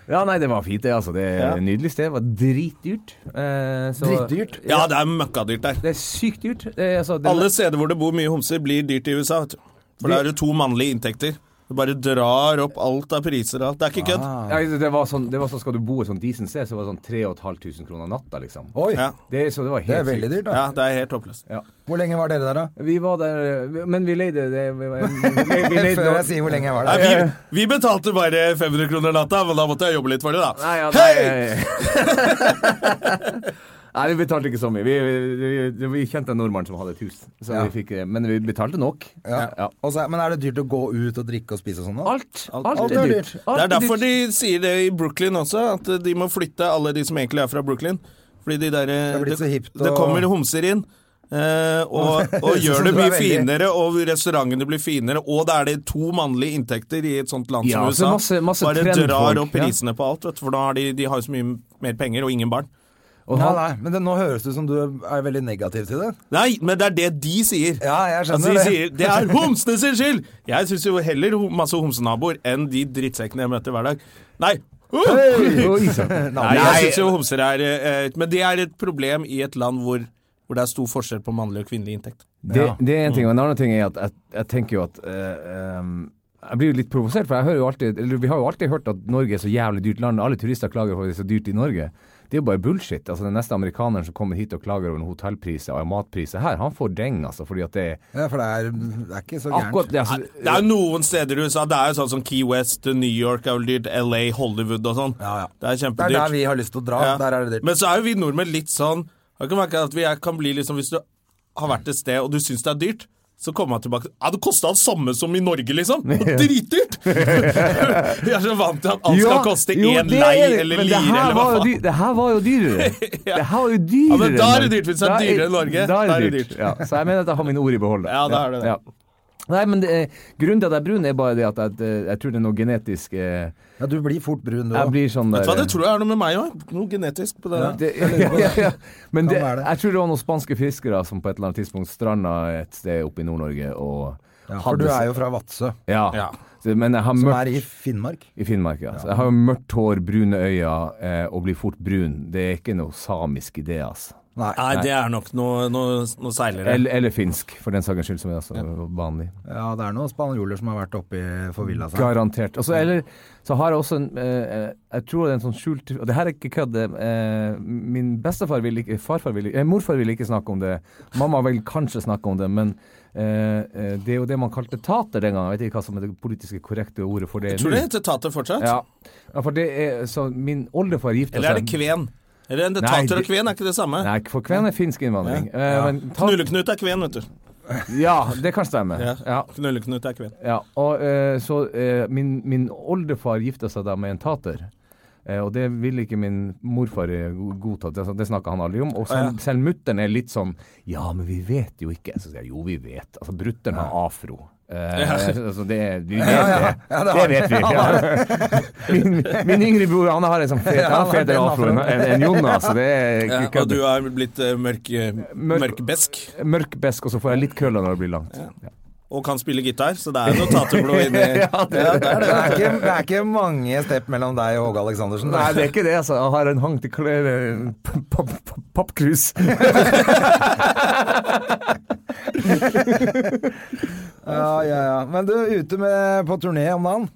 Speaker 3: Ja, nei, det var fint, det. altså. Det
Speaker 2: Ja.
Speaker 3: er et Nydelig sted. Det var dritdyrt. Eh, så-
Speaker 1: Dritdyrt.
Speaker 2: Ja, det er møkkadyrt der.
Speaker 3: Det er sykt dyrt. Det er, altså, det,
Speaker 2: Alle steder hvor det bor mye homser, blir dyrt i USA. Vet du. For da er det to mannlige inntekter. Du bare drar opp alt av priser og alt. Det er ikke kødd.
Speaker 3: ja, det var sånn, det var sånn, skal du bo et sånt decent sted, så var det sånn 3500 kroner natta, liksom.
Speaker 1: Oi,
Speaker 2: Ja.
Speaker 3: Det, er- så det var helt
Speaker 1: det er veldig
Speaker 3: sykt.
Speaker 1: dyrt, da.
Speaker 2: ja, det er helt håpløst.
Speaker 1: Hvor lenge var dere der, da?
Speaker 3: Vi var der vi- Men vi leide det vi, vi, vi, vi leide
Speaker 1: Før
Speaker 3: noe-
Speaker 1: jeg sier hvor lenge jeg var
Speaker 2: Nei,
Speaker 1: der.
Speaker 2: vi, vi betalte bare 500 kroner natta, men da måtte jeg jobbe litt for det, da.
Speaker 3: Nei, ja, nei,
Speaker 2: Hei!
Speaker 3: nei, (laughs) vi betalte ikke så mye. Vi, vi, vi, vi kjente en nordmann som hadde et hus, så
Speaker 1: Ja.
Speaker 3: vi fikk, eh, men vi betalte nok.
Speaker 1: Ja. Og så er- men er det dyrt å gå ut og drikke og spise og sånn? da?
Speaker 3: Alt, alt,
Speaker 1: alt
Speaker 3: er
Speaker 1: er
Speaker 3: dyrt.
Speaker 1: dyrt.
Speaker 3: Alt
Speaker 2: Det er derfor de sier det i Brooklyn også, at de må flytte alle de som egentlig er fra Brooklyn. Fordi de der,
Speaker 1: er blitt så hipt
Speaker 2: det
Speaker 1: og-
Speaker 2: kommer homser inn.
Speaker 1: (laughs)
Speaker 2: eh, og, og
Speaker 1: Det ser ut som
Speaker 2: gjør det
Speaker 1: du
Speaker 2: mye
Speaker 1: er veldig-
Speaker 2: finere, og restaurantene blir finere. Og da er det to mannlige inntekter i et sånt land
Speaker 3: Ja, så
Speaker 2: som USA.
Speaker 3: masse- masse
Speaker 2: Bare
Speaker 3: trendfolk,
Speaker 2: drar opp
Speaker 3: ja.
Speaker 2: prisene på alt, vet du, for da har de, de har jo så mye mer penger og ingen barn.
Speaker 3: Og
Speaker 1: Nei,
Speaker 3: han-
Speaker 1: nei, men det, nå høres det ut som du er veldig negativ til det.
Speaker 2: Nei, men det er det de sier.
Speaker 1: Ja, jeg skjønner
Speaker 2: altså, de
Speaker 1: det.
Speaker 2: Sier, det er homsene sin skyld! Jeg syns jo heller ho- masse homsenaboer enn de drittsekkene jeg møter hver dag. Nei! Uh!
Speaker 3: Oi, sann.
Speaker 2: Nei, jeg syns jo homser er eh, Men det er et problem i et land hvor, hvor det er stor forskjell på mannlig og kvinnelig inntekt.
Speaker 3: Det, det er en ting. Og en annen ting er at jeg, jeg tenker jo at eh, em, Jeg blir jo litt provosert, for jeg hører jo alltid eller Vi har jo alltid hørt at Norge er så jævlig dyrt land. Alle turister klager for at det er så dyrt i Norge. Det er jo bare bullshit. Altså Den neste amerikaneren som kommer hit og klager over noen hotellpriser og matpriser her, han får deng, altså. Fordi at det er
Speaker 1: Ja, for det er, det er ikke så gærent.
Speaker 3: akkurat det.
Speaker 2: Nei,
Speaker 3: Altså,
Speaker 2: Det er jo noen steder i USA Det er jo sånn som Key West, New York er vel dyrt, LA, Hollywood og sånn.
Speaker 1: Ja, ja. Det
Speaker 2: Det er
Speaker 1: er der
Speaker 2: kjempedyrt.
Speaker 1: vi har lyst til å dra.
Speaker 2: Ja.
Speaker 1: Der er det dyrt.
Speaker 2: Men så er jo vi nordmenn litt sånn Jeg kan merke at vi er, kan bli litt sånn Hvis du har vært et sted og du syns det er dyrt, så kommer man tilbake Ja, det kosta det samme som i Norge, liksom! Og dritdyrt! (laughs) vi er så vant til at alt skal
Speaker 3: Ja,
Speaker 2: koste
Speaker 3: jo,
Speaker 2: én
Speaker 3: det
Speaker 2: lei
Speaker 3: er det.
Speaker 2: eller
Speaker 3: Men det
Speaker 2: lire
Speaker 3: her
Speaker 2: eller hva
Speaker 3: var jo
Speaker 2: faen.
Speaker 3: dy- Det her var jo
Speaker 2: (laughs)
Speaker 3: dyrere. Det her var jo dyrere.
Speaker 2: Ja, men da er det
Speaker 3: enn
Speaker 2: dyrt, hvis det er
Speaker 3: Da
Speaker 2: dyrere enn Norge.
Speaker 3: Da er det dyrt. Ja, så jeg mener at jeg har mine ord i behold.
Speaker 2: Ja, da er det det.
Speaker 3: Ja. Nei, men det, er- grunnen til at jeg er brun, er bare det at jeg, jeg tror det er noe genetisk eh,
Speaker 1: Ja, du blir fort brun, du
Speaker 3: Jeg
Speaker 1: òg.
Speaker 3: blir sånn
Speaker 2: Vet
Speaker 3: der
Speaker 2: du hva, det tror jeg er noe med meg òg. Noe genetisk på det der.
Speaker 3: det, (laughs) ja, ja, ja. Men
Speaker 1: Kan
Speaker 3: det,
Speaker 1: være det.
Speaker 3: jeg tror det var noen spanske fiskere som på et eller annet tidspunkt stranda et sted oppe i Nord-Norge og
Speaker 1: Ja, for du er jo fra Vadsø,
Speaker 3: ja.
Speaker 2: Ja.
Speaker 3: Så, men jeg har
Speaker 1: som
Speaker 3: mørkt
Speaker 1: er i Finnmark.
Speaker 3: I Finnmark, ja. Så jeg har jo mørkt hår, brune øyne eh, og blir fort brun. Det er ikke noe samisk i det, altså.
Speaker 1: Nei.
Speaker 2: Nei, det er nok noe, noe, noe seilere.
Speaker 3: Eller, eller finsk, for den saks skyld, som er altså vanlig.
Speaker 1: Ja, det er noen spanjoler som har vært oppi forvilla seg.
Speaker 3: Garantert. Og så- eller så har jeg også en eh, eh, Jeg tror det er en sånn skjult Og det her er ikke kødd. Eh, min bestefar vil ikke Farfar vil ikke eh, Morfar vil ikke snakke om det. Mamma vil kanskje snakke om det, men eh, eh, det er jo det man kalte tater den gangen. Jeg vet ikke hva som er det politiske korrekte ordet for det.
Speaker 2: Tror du
Speaker 3: nå.
Speaker 2: det heter tater fortsatt?
Speaker 3: Ja. ja, for det er Så min oldefar gifta
Speaker 2: Eller er det kven? Eller det
Speaker 3: Nei,
Speaker 2: tater og
Speaker 3: det-
Speaker 2: kven er ikke det samme?
Speaker 3: Nei, for kven er finsk innvandring. Eh, men ta-
Speaker 2: Knulleknut er kven, vet du.
Speaker 3: Ja, det kan stemme.
Speaker 2: Ja.
Speaker 3: Ja.
Speaker 2: Knulleknut er kven.
Speaker 3: Ja, og eh, så eh, min, min oldefar gifta seg da med en tater. Eh, og det ville ikke min morfar eh, go- godta. Det, det snakka han aldri om. Og selv, selv mutter'n er litt sånn Ja, men vi vet jo ikke. Så sier jeg jo, vi vet. Altså, brutter'n har afro. Eh, altså, det, (laughs) vi vet det. det, vet vi. Ja. (laughs) Min, min yngre bror han har en sånn fet, han har fetere afro enn enn Jonas. så Det er
Speaker 2: Ja,
Speaker 3: ikke
Speaker 2: og du
Speaker 3: kødd.
Speaker 2: er blitt eh, mørk, eh, mørkbesk
Speaker 3: Mørk besk, og så får jeg litt krøller når det blir langt. Ja.
Speaker 2: og kan spille gitar, så det er noe
Speaker 3: (laughs)
Speaker 2: taterblod inni ja, det er det.
Speaker 1: Det er, ikke, det er ikke mange step mellom deg og Åge Aleksandersen.
Speaker 3: Nei, det er ikke det, altså. Jeg har en hang til klær eh, p- p- p- Pappkrus.
Speaker 1: Ja, ja, ja. Men du, ute med, på turné om dagen.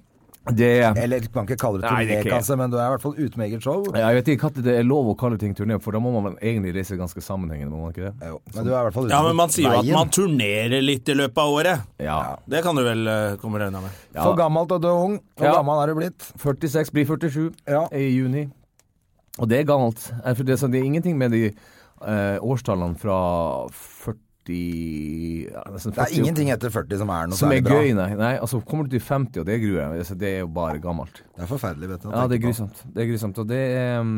Speaker 3: Det er
Speaker 1: Eller man kan ikke kalle det
Speaker 3: Nei, det er ikke-
Speaker 1: turnékasse, men du er i hvert fall ute med eget show.
Speaker 3: jeg vet ikke når det er lov å kalle ting turné, for da må man egentlig reise ganske sammenhengende, må man ikke det?
Speaker 1: Jo, men du er i hvert fall ute
Speaker 2: Ja, men man
Speaker 1: mot
Speaker 2: sier jo at
Speaker 1: veien.
Speaker 2: man turnerer litt i løpet av året.
Speaker 3: Ja.
Speaker 2: Det kan du vel eh, komme deg unna med.
Speaker 3: ja.
Speaker 1: For gammelt og du er ung. Hvor
Speaker 3: Ja.
Speaker 1: gammel er du blitt?
Speaker 3: 46 blir 47
Speaker 1: Ja.
Speaker 3: i juni. Og det er gammelt. Eh, For det, er sånn- det er ingenting med de eh, årstallene fra 40 ja, nesten 40
Speaker 1: Det er ingenting etter 40 som er noe
Speaker 3: som er
Speaker 1: særlig bra.
Speaker 3: gøy, nei. nei. Altså, kommer du til 50, og det gruer jeg meg. Altså, Det er jo bare gammelt.
Speaker 1: Det er forferdelig, vet du. å
Speaker 3: Ja, det er
Speaker 1: tenke på.
Speaker 3: grusomt. Det er grusomt. Og det er um,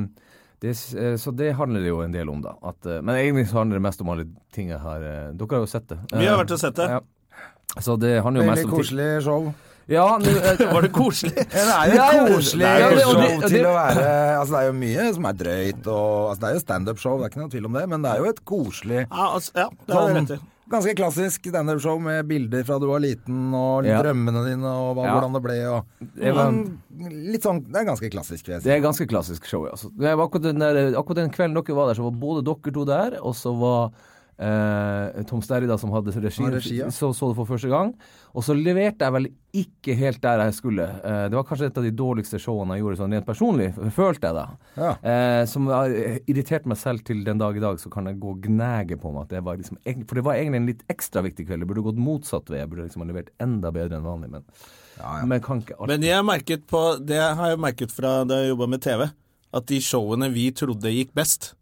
Speaker 3: det, er s- eh, så det handler det jo en del om, da. At, eh, men egentlig så handler det mest om alle ting jeg har eh, Dere har jo sett det.
Speaker 2: Vi har
Speaker 3: Eh,
Speaker 2: vært og sett det.
Speaker 3: ja. Så det handler jo
Speaker 1: Veldig
Speaker 3: mest om ting-
Speaker 1: koselig show.
Speaker 3: Ja, nå, eh,
Speaker 1: (laughs)
Speaker 2: Var det koselig?
Speaker 1: Ja, det er jo
Speaker 3: Ja, ja, det-
Speaker 1: koselig
Speaker 3: det er jo-
Speaker 1: show
Speaker 3: og det-
Speaker 1: til
Speaker 3: og det-
Speaker 1: å være Altså, det er jo mye som er drøyt, og altså, Det er jo standup-show, det er ikke noe tvil om det, men det er jo et koselig
Speaker 2: Ja, altså, ja det har du
Speaker 1: sånn,
Speaker 2: rett i.
Speaker 1: Ganske klassisk standup-show med bilder fra du var liten, og
Speaker 3: Ja.
Speaker 1: drømmene dine, og hva,
Speaker 3: Ja.
Speaker 1: hvordan det ble, og
Speaker 3: Det var-
Speaker 1: Men Litt sånn Det er ganske klassisk, vil jeg si.
Speaker 3: Det er ganske klassisk show, altså. Det var akkurat, den der, akkurat den kvelden dere var der, så var både dere to der, og så var eh, Tom Sterry, da, som hadde regi,
Speaker 1: Ja, regi, ja.
Speaker 3: så, så det for første gang. Og så leverte jeg vel ikke helt der jeg skulle. Eh, det var kanskje et av de dårligste showene jeg gjorde sånn rent personlig, følte jeg da.
Speaker 1: Ja.
Speaker 3: Eh, som har irritert meg selv til den dag i dag, så kan jeg gå og gnage på meg at det var liksom egent- For det var egentlig en litt ekstra viktig kveld. Jeg burde gått motsatt vei. Jeg burde liksom ha levert enda bedre enn vanlig, men, men jeg kan ikke alt.
Speaker 2: Men jeg har merket på, det har jeg merket fra da jeg jobba med TV, at de showene vi trodde gikk best,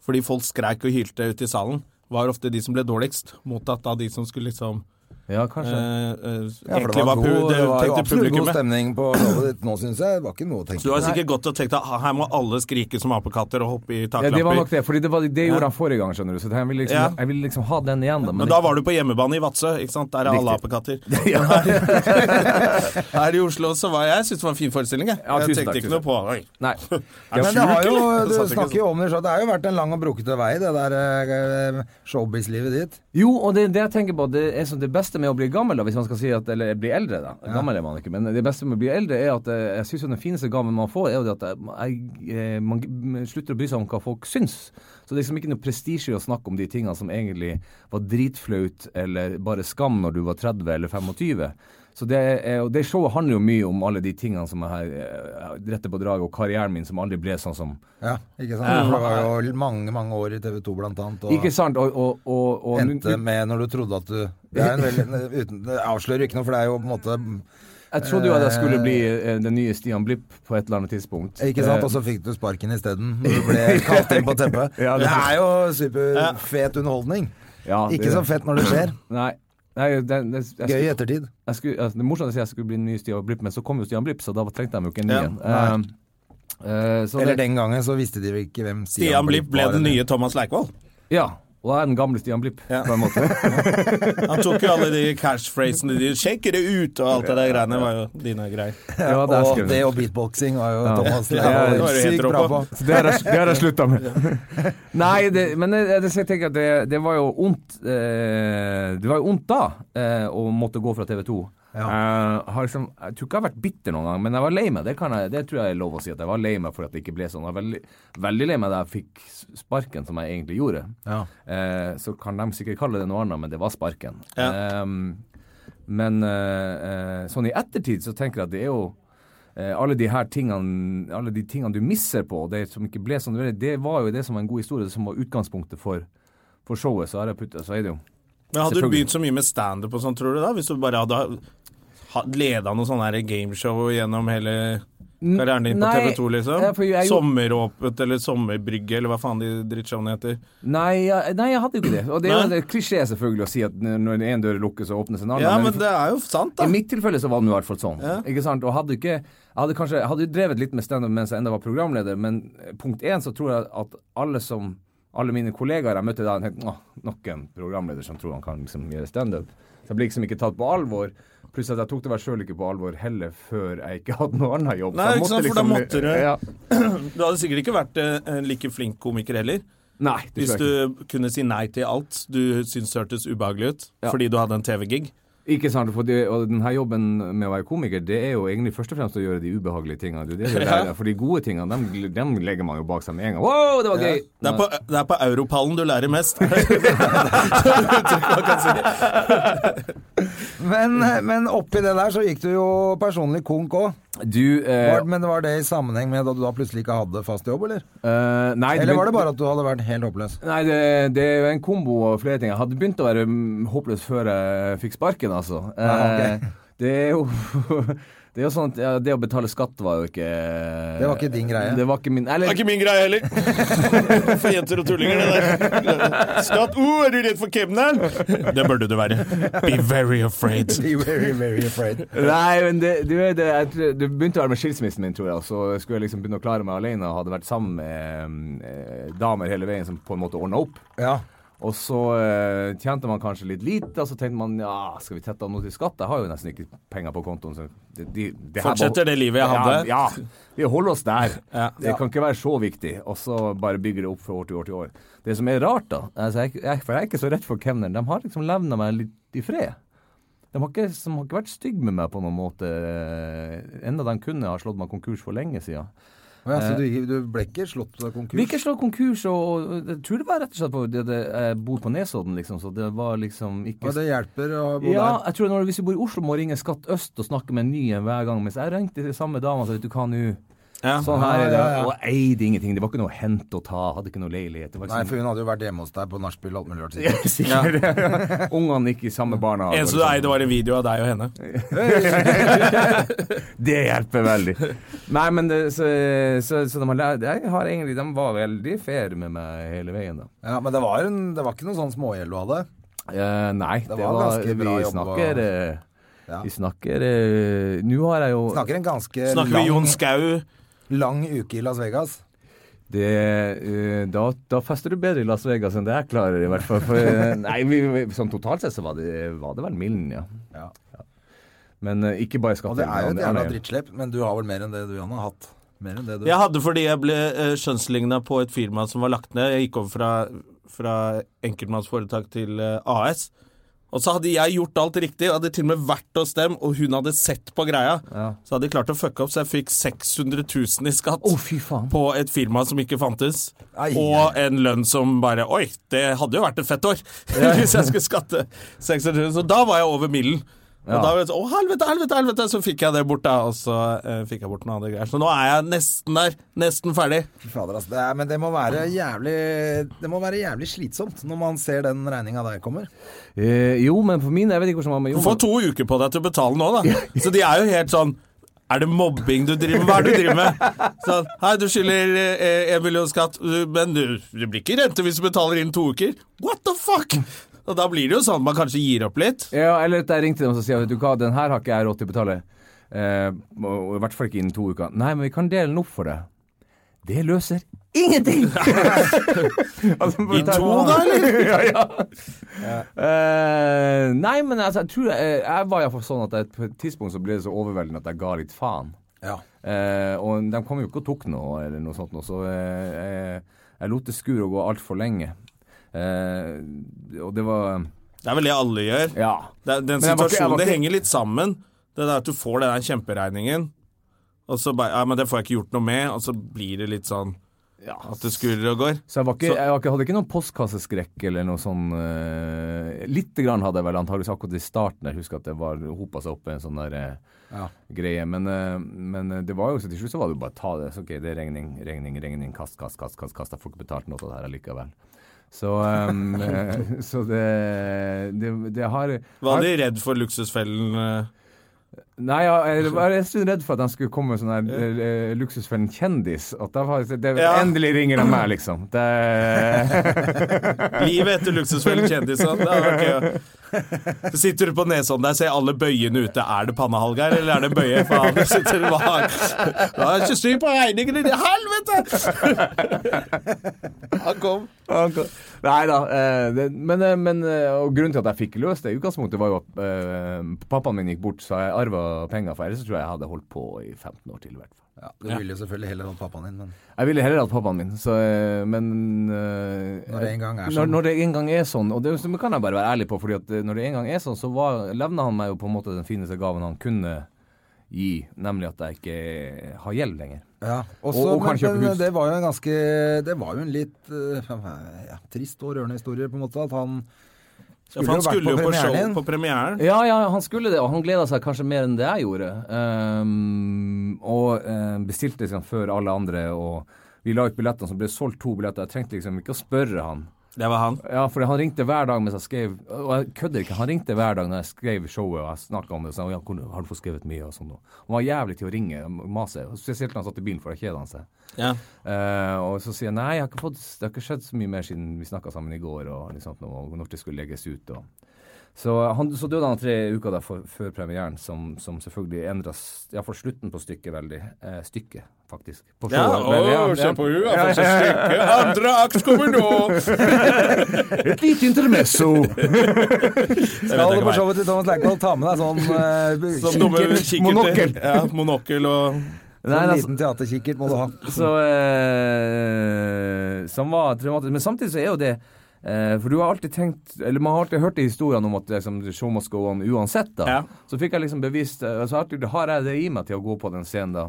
Speaker 2: fordi folk skreik og hylte ute i salen, var ofte de som ble dårligst, mottatt av de som skulle liksom
Speaker 3: Ja,
Speaker 2: eh,
Speaker 3: kanskje.
Speaker 2: eh,
Speaker 1: Ja, for
Speaker 2: Egentlig var pu-
Speaker 1: god-
Speaker 2: det
Speaker 1: det var jo
Speaker 2: tenkte
Speaker 1: absolutt god
Speaker 2: publikummet.
Speaker 1: stemning på showet ditt nå, syns jeg. Det var ikke noe å tenke
Speaker 2: Så du har
Speaker 1: på.
Speaker 2: sikkert gått og tenkt at ah, her må alle skrike som apekatter og hoppe i
Speaker 3: Ja, det var nok
Speaker 2: taklamper.
Speaker 3: det, fordi det, var, det gjorde han forrige gang, skjønner du. Så jeg ville liksom,
Speaker 2: Ja.
Speaker 3: jeg ville liksom ha den igjen, da.
Speaker 2: Men da var du på hjemmebane i Vadsø, ikke sant? Der er alle
Speaker 1: (laughs)
Speaker 3: Riktig.
Speaker 2: apekatter. Men Her, (laughs) her i Oslo så var jeg, jeg syntes det var en fin forestilling, jeg.
Speaker 3: Ja, tusen
Speaker 2: jeg
Speaker 3: takk,
Speaker 2: tenkte
Speaker 3: tusen
Speaker 2: ikke noe på Oi. (laughs)
Speaker 3: Nei.
Speaker 2: er
Speaker 1: Men det sånn-
Speaker 2: sjuk,
Speaker 1: har jo,
Speaker 2: eller?
Speaker 1: du
Speaker 2: Det satt ikke
Speaker 1: snakker jo om det, så det har jo vært en lang og brokete vei, det der eh, showbiz-livet ditt.
Speaker 3: Jo, og det, det jeg tenker på, det er sånn det beste med å bli gammel, da, hvis man skal si at Eller bli eldre, da. Gammel er man ikke, men det beste med å bli eldre er at eh, jeg syns den fineste gaven man får, er jo det at eh, jeg, jeg, man g- slutter å bry seg om hva folk syns. Så det er liksom ikke noe prestisje i å snakke om de tingene som egentlig var dritflaut eller bare skam når du var 30 eller 25. Så det, er, og det showet handler jo mye om alle de tingene som jeg har eh, retter på draget, og karrieren min som aldri ble sånn som
Speaker 1: Ja, ikke sant? For det var jo mange, mange år i TV 2 blant annet. Og
Speaker 3: Ikke sant? Og, og, og, og
Speaker 1: endte med når du trodde at du Det, er en (laughs) veldig, uten, det avslører jo ikke noe, for det er jo på en måte
Speaker 3: Jeg trodde jo at jeg skulle bli eh, den nye Stian Blipp på et eller annet tidspunkt. Eh,
Speaker 1: Ikke sant? Altså, Og så fikk du sparken isteden. når Du ble (laughs) kalt inn på teppet.
Speaker 3: Ja, det-
Speaker 1: det, er jo superfet underholdning.
Speaker 3: Ja, det-
Speaker 1: Ikke så fett når det skjer.
Speaker 3: Nei. Nei det, det,
Speaker 1: Gøy
Speaker 3: jeg,
Speaker 1: i
Speaker 3: skulle,
Speaker 1: ettertid.
Speaker 3: jeg skulle, altså, det er morsomt å si jeg skulle bli den nye Stian Blipp, men så kom jo Stian Blipp, så da trengte de jo ikke en ny
Speaker 2: Ja,
Speaker 3: en.
Speaker 1: nei.
Speaker 3: Eh, eh, så
Speaker 1: Eller
Speaker 3: det-
Speaker 1: den gangen så visste de vel ikke hvem
Speaker 2: Stian Blipp ble
Speaker 1: var,
Speaker 2: den
Speaker 1: eller- (laughs)
Speaker 2: nye Thomas Leikvoll.
Speaker 3: Ja. Og jeg er den gamle Stian Blipp, på en
Speaker 1: (laughs)
Speaker 3: måte.
Speaker 2: Han tok jo alle de cashphrasene de 'Sjekk det ut' og alt det der greiene var jo dine greier.
Speaker 3: Ja, det er
Speaker 1: Og
Speaker 3: skrevet.
Speaker 1: det og beatboxing var jo Thomas
Speaker 2: Ja,
Speaker 1: Leivvoll
Speaker 3: det
Speaker 2: var du helt
Speaker 1: sykt
Speaker 2: rå
Speaker 1: bra på.
Speaker 2: på.
Speaker 3: Så det har jeg- det har jeg slutta med. (laughs) Nei, det, men jeg, jeg tenker at det, det var jo ondt eh, Det var jo ondt da eh, å måtte gå fra TV 2. Eh, har liksom, jeg tror ikke jeg har vært bitter noen gang, men jeg var lei meg. Det, kan jeg, det tror jeg er lov å si. At jeg var lei meg for at det ikke ble sånn. Jeg var veldig, veldig lei meg da jeg fikk s- sparken, som jeg egentlig gjorde.
Speaker 1: Ja.
Speaker 3: Eh, så kan de sikkert kalle det noe annet, men det var sparken.
Speaker 2: Ja.
Speaker 3: Ehm, men eh, eh, sånn i ettertid så tenker jeg at det er jo Eh, alle de her tingene Alle de tingene du misser på, det som ikke ble sånn, det- det var jo det som var en god historie, det som var utgangspunktet for, for showet. Så har jeg puttet, så er det jo
Speaker 2: Men hadde du
Speaker 3: Selvfølgelig.
Speaker 2: begynt så mye med standup og sånn, tror du da? Hvis du bare hadde ha- leda noe sånn her gameshow gjennom hele karrieren din på
Speaker 3: Nei,
Speaker 2: TV 2,
Speaker 3: ja, for
Speaker 2: liksom?
Speaker 3: jeg-
Speaker 2: Sommeråpent eller Sommerbrygge eller hva faen de drittshowene heter.
Speaker 3: Nei, jeg- nei, jeg hadde jo ikke det. Og det er jo
Speaker 2: Nei.
Speaker 3: en klisjé selvfølgelig å si at når når en dør lukkes, så åpnes en annen.
Speaker 2: Ja, men det er jo sant, da.
Speaker 3: I mitt tilfelle så var det nå i hvert fall sånn. Ikke sant? Og hadde ikke Jeg hadde kanskje jeg hadde jo drevet litt med standup mens jeg enda var programleder, men eh, punkt én så tror jeg at alle som alle mine kollegaer jeg møtte da, tenkte Åh, nok en programleder som tror han kan liksom gjøre standup. Så jeg ble liksom ikke tatt på alvor. Pluss at jeg tok det vel sjøl ikke på alvor heller før jeg ikke hadde noe annet jobb. Så
Speaker 2: Nei,
Speaker 3: jeg liksom
Speaker 2: ikke sant, for da måtte du-
Speaker 3: Ja.
Speaker 2: Du hadde sikkert ikke vært eh, en like flink komiker heller.
Speaker 3: Nei, det
Speaker 2: Hvis
Speaker 3: tror jeg ikke.
Speaker 2: du kunne si nei til alt du syntes hørtes ubehagelig ut
Speaker 3: Ja.
Speaker 2: fordi du hadde en TV-gig.
Speaker 3: Ikke sant, for det, og denne jobben med å være komiker, det er jo egentlig først og fremst å gjøre de ubehagelige tingene. Det
Speaker 1: (laughs)
Speaker 3: er det du lærer deg, For de gode tingene, dem, dem legger man jo bak seg med en gang. Wow, det var gøy!
Speaker 2: Det er, på, det er på europallen du lærer mest. (laughs) Det er et uttrykk man kan si.
Speaker 1: Men, eh, men oppi det der så gikk du jo personlig konk òg.
Speaker 3: Du eh,
Speaker 1: Men var det i sammenheng med at du da plutselig ikke hadde fast jobb, eller?
Speaker 3: eh, Nei, du
Speaker 1: Eller var
Speaker 3: begynte-
Speaker 1: det bare at du hadde vært helt
Speaker 3: (laughs)
Speaker 1: håpløs?
Speaker 3: Nei, det, det er jo en kombo av flere ting. Jeg hadde begynt å være mm, håpløs før jeg fikk sparken, altså.
Speaker 1: Ja, Ah, ok.
Speaker 3: Eh, det er jo (laughs) Det er jo sånn at ja, det å betale skatt var jo ikke
Speaker 1: Det var ikke din greie.
Speaker 3: Det var ikke min
Speaker 2: Det
Speaker 3: Eller
Speaker 2: er ikke min greie (laughs) heller. For jenter og tullinger, det der. Skatt. Uh, er du redd for kemneren? Det burde du være. Be very (laughs) afraid.
Speaker 1: Be very, very afraid.
Speaker 3: Nei, men det, du vet, det, jeg, tror- det begynte å være med skilsmissen min, tror jeg. Så skulle jeg liksom begynne å klare meg alene og hadde vært sammen med eh, damer hele veien som på en måte ordna opp.
Speaker 1: Ja.
Speaker 3: Og så eh, tjente man kanskje litt lite, og så tenkte man ja, skal vi tette av noe til skatt? Jeg har jo nesten ikke penger på kontoen. Så det, de, det her
Speaker 2: Fortsetter
Speaker 3: bare-
Speaker 2: det livet jeg hadde.
Speaker 3: Ja, ja. vi holder oss der.
Speaker 2: Ja.
Speaker 3: Det kan ikke være så viktig. Og så bare bygger det opp fra år til år til år. Det som er rart, da altså jeg, jeg, For jeg er ikke så redd for kemneren. De har liksom levna meg litt i fred. De har, ikke, som har ikke vært stygge med meg på noen måte. eh, Enda de kunne ha slått meg konkurs for lenge siden.
Speaker 1: Å ja, så du, du ble ikke slått av konkurs?
Speaker 3: Vi ikke slå konkurs, og, og jeg tror det var rett og slett på det, det, Jeg bor på Nesodden, liksom, så det var liksom ikke
Speaker 1: Og det hjelper å bo
Speaker 3: ja,
Speaker 1: der.
Speaker 3: jeg tror når, Hvis du bor i Oslo, må du ringe Skatt Øst og snakke med en ny en hver gang. Mens jeg ringte til samme dama og sa vet du hva nå
Speaker 2: Ja.
Speaker 3: Sånn her er det.
Speaker 1: Ja, ja, ja.
Speaker 3: Og jeg eide ingenting. Det var ikke noe å hente og ta. Hadde ikke noe leilighet. Det var
Speaker 1: Nei,
Speaker 3: ikke
Speaker 1: for hun hadde jo vært hjemme hos deg på nachspiel og alt mulig rart. sikkert.
Speaker 3: sånn- Sikkert. (laughs) Ungene gikk i samme barna. Liksom.
Speaker 2: Eneste du eide, var en video av deg og henne.
Speaker 3: Det hjelper veldig. Nei, men det, så, så, så de, har, lært- jeg har egentlig, de var veldig fair med meg hele veien, da.
Speaker 1: Ja, men det var, en, det var ikke noen sånn smågjeld du hadde.
Speaker 3: Eh, nei, det,
Speaker 1: var
Speaker 3: var,
Speaker 1: ganske bra
Speaker 3: Vi
Speaker 1: jobb,
Speaker 3: snakker eh,
Speaker 1: Ja.
Speaker 3: Vi snakker eh, Nå har jeg jo
Speaker 1: Snakker en ganske
Speaker 2: Snakker vi Jon
Speaker 1: lang,
Speaker 2: Skau?
Speaker 1: lang uke i Las Vegas.
Speaker 3: Det, eh, da, da fester du bedre i Las Vegas enn det jeg klarer, i hvert fall.
Speaker 1: (laughs)
Speaker 3: For, eh, nei, vi, vi, sånn totalt sett så var det, var det vel milden, ja.
Speaker 1: Ja.
Speaker 3: Men eh, ikke bare skatt.
Speaker 1: Og det er jo et jævla drittslepp, men du har vel mer enn det du, Jan, har hatt? Mer enn det du
Speaker 2: Jeg hadde fordi jeg ble eh, skjønnsligna på et firma som var lagt ned. Jeg gikk over fra, fra enkeltmannsforetak til eh, AS. Og så hadde jeg gjort alt riktig, og hadde til og med vært hos dem, og hun hadde sett på greia.
Speaker 3: Ja.
Speaker 2: Så hadde de klart å fucke opp, så jeg fikk 600 000 i skatt
Speaker 3: Å, fy faen.
Speaker 2: på et firma som ikke fantes.
Speaker 1: Ai,
Speaker 2: og en lønn som bare Oi, det hadde jo vært et fett år (laughs) hvis jeg skulle skatte 600 000. Så da var jeg over middelen. Og
Speaker 3: Ja.
Speaker 2: da var jeg sånn, Å, helvete, helvete, helvete! Så fikk jeg det bort, da. Og så eh, fikk jeg bort noen andre greier. Så nå er jeg nesten der. Nesten ferdig.
Speaker 1: Fy Fader, altså. Det er, men det må, være jævlig, det må være jævlig slitsomt når man ser den regninga der kommer.
Speaker 3: Eh, jo, men for min Jeg vet ikke hvordan det var med
Speaker 2: Du får
Speaker 3: Jon.
Speaker 2: to uker på deg til å betale nå,
Speaker 3: (laughs)
Speaker 2: da. Så de er jo helt sånn er det mobbing du driver med? Hva er det du driver med? Sånn, hei, du skylder eh, en million skatt, du- men du, det blir ikke rente hvis du betaler inn to uker. What the fuck? Og da blir det jo sånn at man kanskje gir opp litt.
Speaker 3: Ja, eller at jeg ringte dem og så sier jeg, vet du hva, den her har ikke jeg råd til å betale. Eh, og, og I hvert fall ikke innen to uker. Nei, men vi kan dele den opp for deg. Det løser
Speaker 2: (laughs)
Speaker 3: ingenting!
Speaker 2: I to, da, eller?
Speaker 3: (laughs) ja, ja. Eh, nei, men altså, jeg tror jeg, jeg var iallfall sånn at jeg, på et tidspunkt så ble det så overveldende at jeg ga litt faen.
Speaker 1: Ja.
Speaker 3: Eh, og de kom jo ikke og tok noe, eller noe sånt, noe, så eh, jeg, jeg lot det skure og gå altfor lenge. Eh, og det var
Speaker 2: Det er vel det alle gjør.
Speaker 3: Ja.
Speaker 2: Det, er- den
Speaker 3: Men jeg var ikke- jeg var
Speaker 2: situasjonen, det
Speaker 3: ikke-
Speaker 2: henger litt sammen. Det der at du får den der kjemperegningen, og så bare Ja, men det får jeg ikke gjort noe med, og så blir det litt sånn at det skurrer og går.
Speaker 3: Så jeg, var ikke,
Speaker 2: Så-
Speaker 3: jeg var ikke, hadde ikke noen postkasseskrekk eller noe sånn uh, Lite grann hadde jeg vel antageligvis akkurat i starten. Jeg husker at det var hopa seg opp i en sånn der eh,
Speaker 1: Ja.
Speaker 3: greie. Men, eh, men eh, det var jo så til slutt så var det jo bare å ta det. Så, ok, det er regning, regning, regning. Kast, kast, kast. kast, kast. Jeg får ikke betalt noe av det her allikevel. Så, eh, (laughs) eh, så det, det, det har
Speaker 2: Var de redd for luksusfellen? eh?
Speaker 3: Nei, ja, jeg var en stund redd for at de skulle komme med sånn her eh, luksusfellen kjendis. At da var, det,
Speaker 2: Ja.
Speaker 3: Endelig ringer de meg, liksom. Det (laughs)
Speaker 2: Livet etter luksusfellen kjendisene. Det hadde vært gøy. Så sitter du på Nesodden der, ser alle bøyene ute. Er det pannehalg her, eller er det bøye? Faen, du sitter du bak. Da er det ikke styr på regningene dine. Helvete! Han kom.
Speaker 3: Nei da. eh, det- Men, eh, men eh, og grunnen til at jeg fikk løst det i utgangspunktet, var jo at eh, pappaen min gikk bort, så jeg arva penger, for ellers så tror jeg jeg hadde holdt på i 15 år til i hvert fall.
Speaker 1: Ja, du ville jo selvfølgelig heller hatt pappaen din, men
Speaker 3: Jeg ville heller hatt pappaen min, så, eh, men eh,
Speaker 1: Når det en gang er
Speaker 3: Når,
Speaker 1: sånn.
Speaker 3: når det en gang er sånn, og det, så kan jeg bare være ærlig på, fordi at eh, når det en gang er sånn, så var, levna han meg jo på en måte den fineste gaven han kunne gi, nemlig at jeg ikke har gjeld lenger.
Speaker 1: ja.
Speaker 3: Og- og
Speaker 1: men,
Speaker 3: kanskje
Speaker 1: men
Speaker 3: på hus.
Speaker 1: det var jo en ganske Det var jo en litt eh, ja, trist og rørende historie, på en måte. At han
Speaker 2: Ja, for han
Speaker 1: vært
Speaker 2: skulle jo på
Speaker 1: premieren
Speaker 2: show
Speaker 1: din.
Speaker 2: på premieren.
Speaker 3: Ja, ja, han skulle det, og han gleda seg kanskje mer enn det jeg gjorde. Ehm, og eh, bestilte liksom før alle andre, og vi la ut billettene, så ble det solgt to billetter. Jeg trengte liksom ikke å spørre han.
Speaker 2: Det var han.
Speaker 3: Ja, for han ringte hver dag mens jeg skrev Og jeg kødder ikke, han ringte hver dag når jeg skrev showet og jeg snakka om det. Så, ja, hvor- har du fått skrevet mye og sånn. og Han var jævlig til å ringe og mase, og spesielt når han satt i bilen, for da kjeda han seg.
Speaker 2: Ja.
Speaker 3: Eh, og så sier jeg nei, jeg har ikke fått, det har ikke skjedd så mye mer siden vi snakka sammen i går, og liksom, nå- og når det skulle legges ut. Og. Så, han, så døde han tre uker da, for, før premieren, som, som selvfølgelig endra iallfall slutten på stykket veldig. Eh, stykket, faktisk. På
Speaker 2: Ja,
Speaker 3: showet.
Speaker 2: å,
Speaker 3: Men ja,
Speaker 2: se
Speaker 3: ja.
Speaker 2: på henne, han får seg stykke. Andre akt kommer nå! (laughs)
Speaker 3: Et lite intermesso!
Speaker 1: Skal du på showet til Thomas Leikvoll, ta med deg sånn eh,
Speaker 2: Som dumme
Speaker 1: kikkert.
Speaker 2: kikkerter.
Speaker 3: monokkel.
Speaker 2: Ja, monokkel og
Speaker 3: Nei,
Speaker 1: Sånn
Speaker 3: altså-
Speaker 1: liten teaterkikkert må du ha.
Speaker 3: Så, eh, som var traumatisk. Men samtidig så er jo det eh, For du har alltid tenkt Eller man har alltid hørt de historiene om at liksom, the show must go on uansett, da.
Speaker 2: Ja.
Speaker 3: Så fikk jeg liksom bevist eh, Så alltid, har jeg det i meg til å gå på den scenen, da.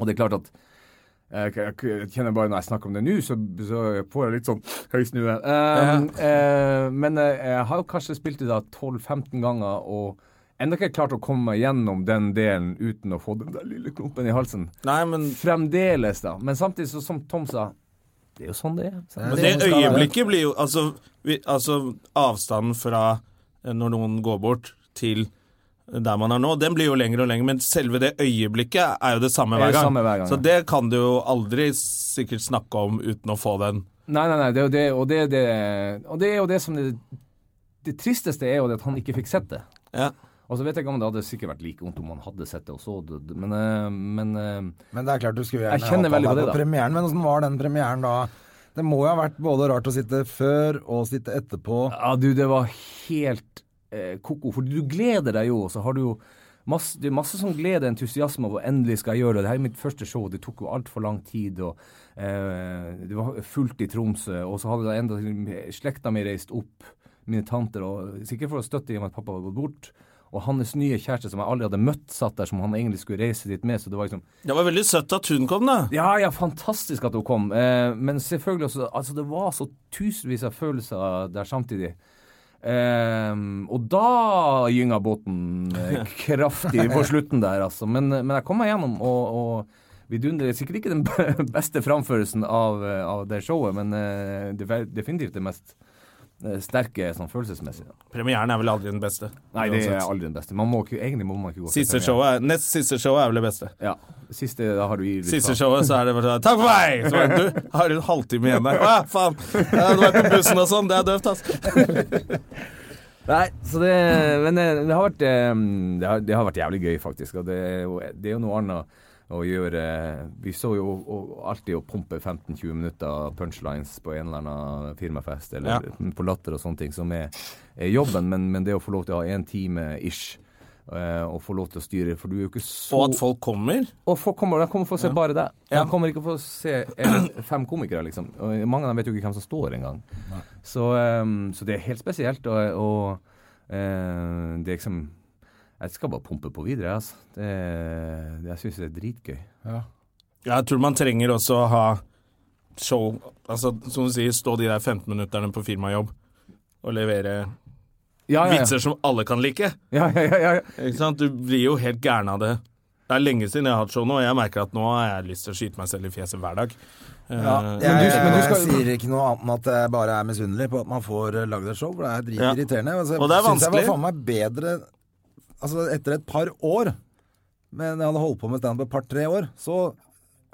Speaker 3: Og det er klart at eh, jeg, jeg, jeg kjenner bare Når jeg snakker om det nå, så, så får jeg litt sånn høy snue. Um, eh, men eh, jeg har jo kanskje spilt det da 12-15 ganger og ennå ikke klart å komme meg gjennom den delen uten å få den der lille klumpen i halsen.
Speaker 2: Nei, men
Speaker 3: Fremdeles, da. Men samtidig, så, som Tom sa, det er jo sånn det er.
Speaker 1: Ja,
Speaker 2: Men
Speaker 1: det
Speaker 2: det
Speaker 1: skal være.
Speaker 2: øyeblikket blir jo Altså, vi, altså avstanden fra eh, når noen går bort, til der man er nå, den blir jo lengre og lengre, men selve det øyeblikket er jo det samme
Speaker 3: Er
Speaker 2: hver
Speaker 3: det
Speaker 2: gang.
Speaker 3: samme hver gang,
Speaker 2: Så
Speaker 3: ja.
Speaker 2: det kan du jo aldri sikkert snakke om uten å få den.
Speaker 3: Nei, nei, nei, det er jo det, og det, er det, og det er jo det som det, det tristeste er jo det at han ikke fikk sett det.
Speaker 2: Ja.
Speaker 3: Og så vet jeg ikke om det hadde sikkert vært like vondt om han hadde sett det og så det, men, eh, men eh,
Speaker 1: Men det er klart du skulle
Speaker 3: Jeg
Speaker 1: gjerne
Speaker 3: kjenner
Speaker 1: hatt han
Speaker 3: veldig på
Speaker 1: der
Speaker 3: det, da.
Speaker 1: premieren. Men åssen var den premieren da? Det må jo ha vært både rart å sitte før og sitte etterpå.
Speaker 3: Ja, du, det var helt eh, koko, for du gleder deg jo, og så har du jo masse, det er masse sånn glede og entusiasme over endelig skal jeg gjøre det. Det her er mitt første show, det tok jo altfor lang tid, og eh, det var fullt i Tromsø, og så hadde da enda slekta mi reist opp, mine tanter, og sikkert for å støtte i og med at pappa hadde gått bort. Og hans nye kjæreste, som jeg aldri hadde møtt, satt der, som han egentlig skulle reise dit med, så det var liksom
Speaker 2: Det var veldig søtt at hun kom, da.
Speaker 3: ja, ja, fantastisk at hun kom. Eh, men selvfølgelig også Altså, det var så tusenvis av følelser der samtidig. Eh, og da gynga båten eh, kraftig på slutten der, altså. Men, men jeg kom meg gjennom, og, og vi dundrer sikkert ikke den (laughs) b- beste framførelsen av, eh, av det showet, men eh, det var definitivt det mest eh, sterke sånn følelsesmessig. da.
Speaker 2: Premieren er vel aldri den beste.
Speaker 3: Nei, det er
Speaker 2: Uansett.
Speaker 3: aldri den beste. Man må ikke, egentlig må man ikke gå til
Speaker 2: Siste
Speaker 3: premiere.
Speaker 2: showet er, nest siste showet er vel det beste.
Speaker 3: Ja. Siste, da har du gitt litt
Speaker 2: Siste
Speaker 3: faen.
Speaker 2: showet så er det bare sånn Takk for meg! Så bare, du har du en halvtime igjen
Speaker 3: (laughs)
Speaker 2: der. Å ja, faen! Ja, Du var på bussen og sånn. Det er døvt, ass.
Speaker 3: Nei, så det, men det, det, har vært, eh, det, har, det har vært jævlig gøy, faktisk. Og det, er jo- det er jo noe annet å gjøre eh, Vi så jo å- alltid å pumpe 15-20 minutter punchlines på en eller annen firmafest eller
Speaker 2: Ja.
Speaker 3: på Latter og sånne ting, som er, er jobben, men, men det å få lov til å ha én time ish eh, og få lov til å styre, for du er jo ikke så
Speaker 2: Og at folk kommer.
Speaker 3: og folk kommer, de kommer for å se bare deg. De kommer ikke for å se eh, (clears throat) fem komikere, liksom. Og mange av dem vet jo ikke hvem som står engang. Så, ehm, så det er helt spesielt. Og, og eh, det er liksom Jeg skal bare pumpe på videre, altså. Det, det, jeg syns det er dritgøy.
Speaker 2: Jeg tror man trenger også å ha show Altså, som du sier, stå de der 15 minutterne på firmajobb og levere
Speaker 3: Ah, Ja, ja, ja.
Speaker 2: vitser som alle kan like.
Speaker 3: ja, ja, ja, ja.
Speaker 2: Ikke sant? Du blir jo helt gæren av det. Det er lenge siden jeg har hatt show nå, og jeg merker at nå har jeg lyst til å skyte meg selv i fjeset hver dag.
Speaker 1: Ja,
Speaker 2: Eh,
Speaker 1: jeg,
Speaker 3: du- men du skal-
Speaker 1: sier ikke noe annet enn at jeg bare er misunnelig på at man får eh, lagd et show, for det er
Speaker 2: Ja.
Speaker 1: dritirriterende. Altså,
Speaker 2: Og det er
Speaker 1: synes Jeg
Speaker 2: vanskelig.
Speaker 1: var faen meg bedre altså, etter et par år, men jeg hadde holdt på med standup et par-tre år, så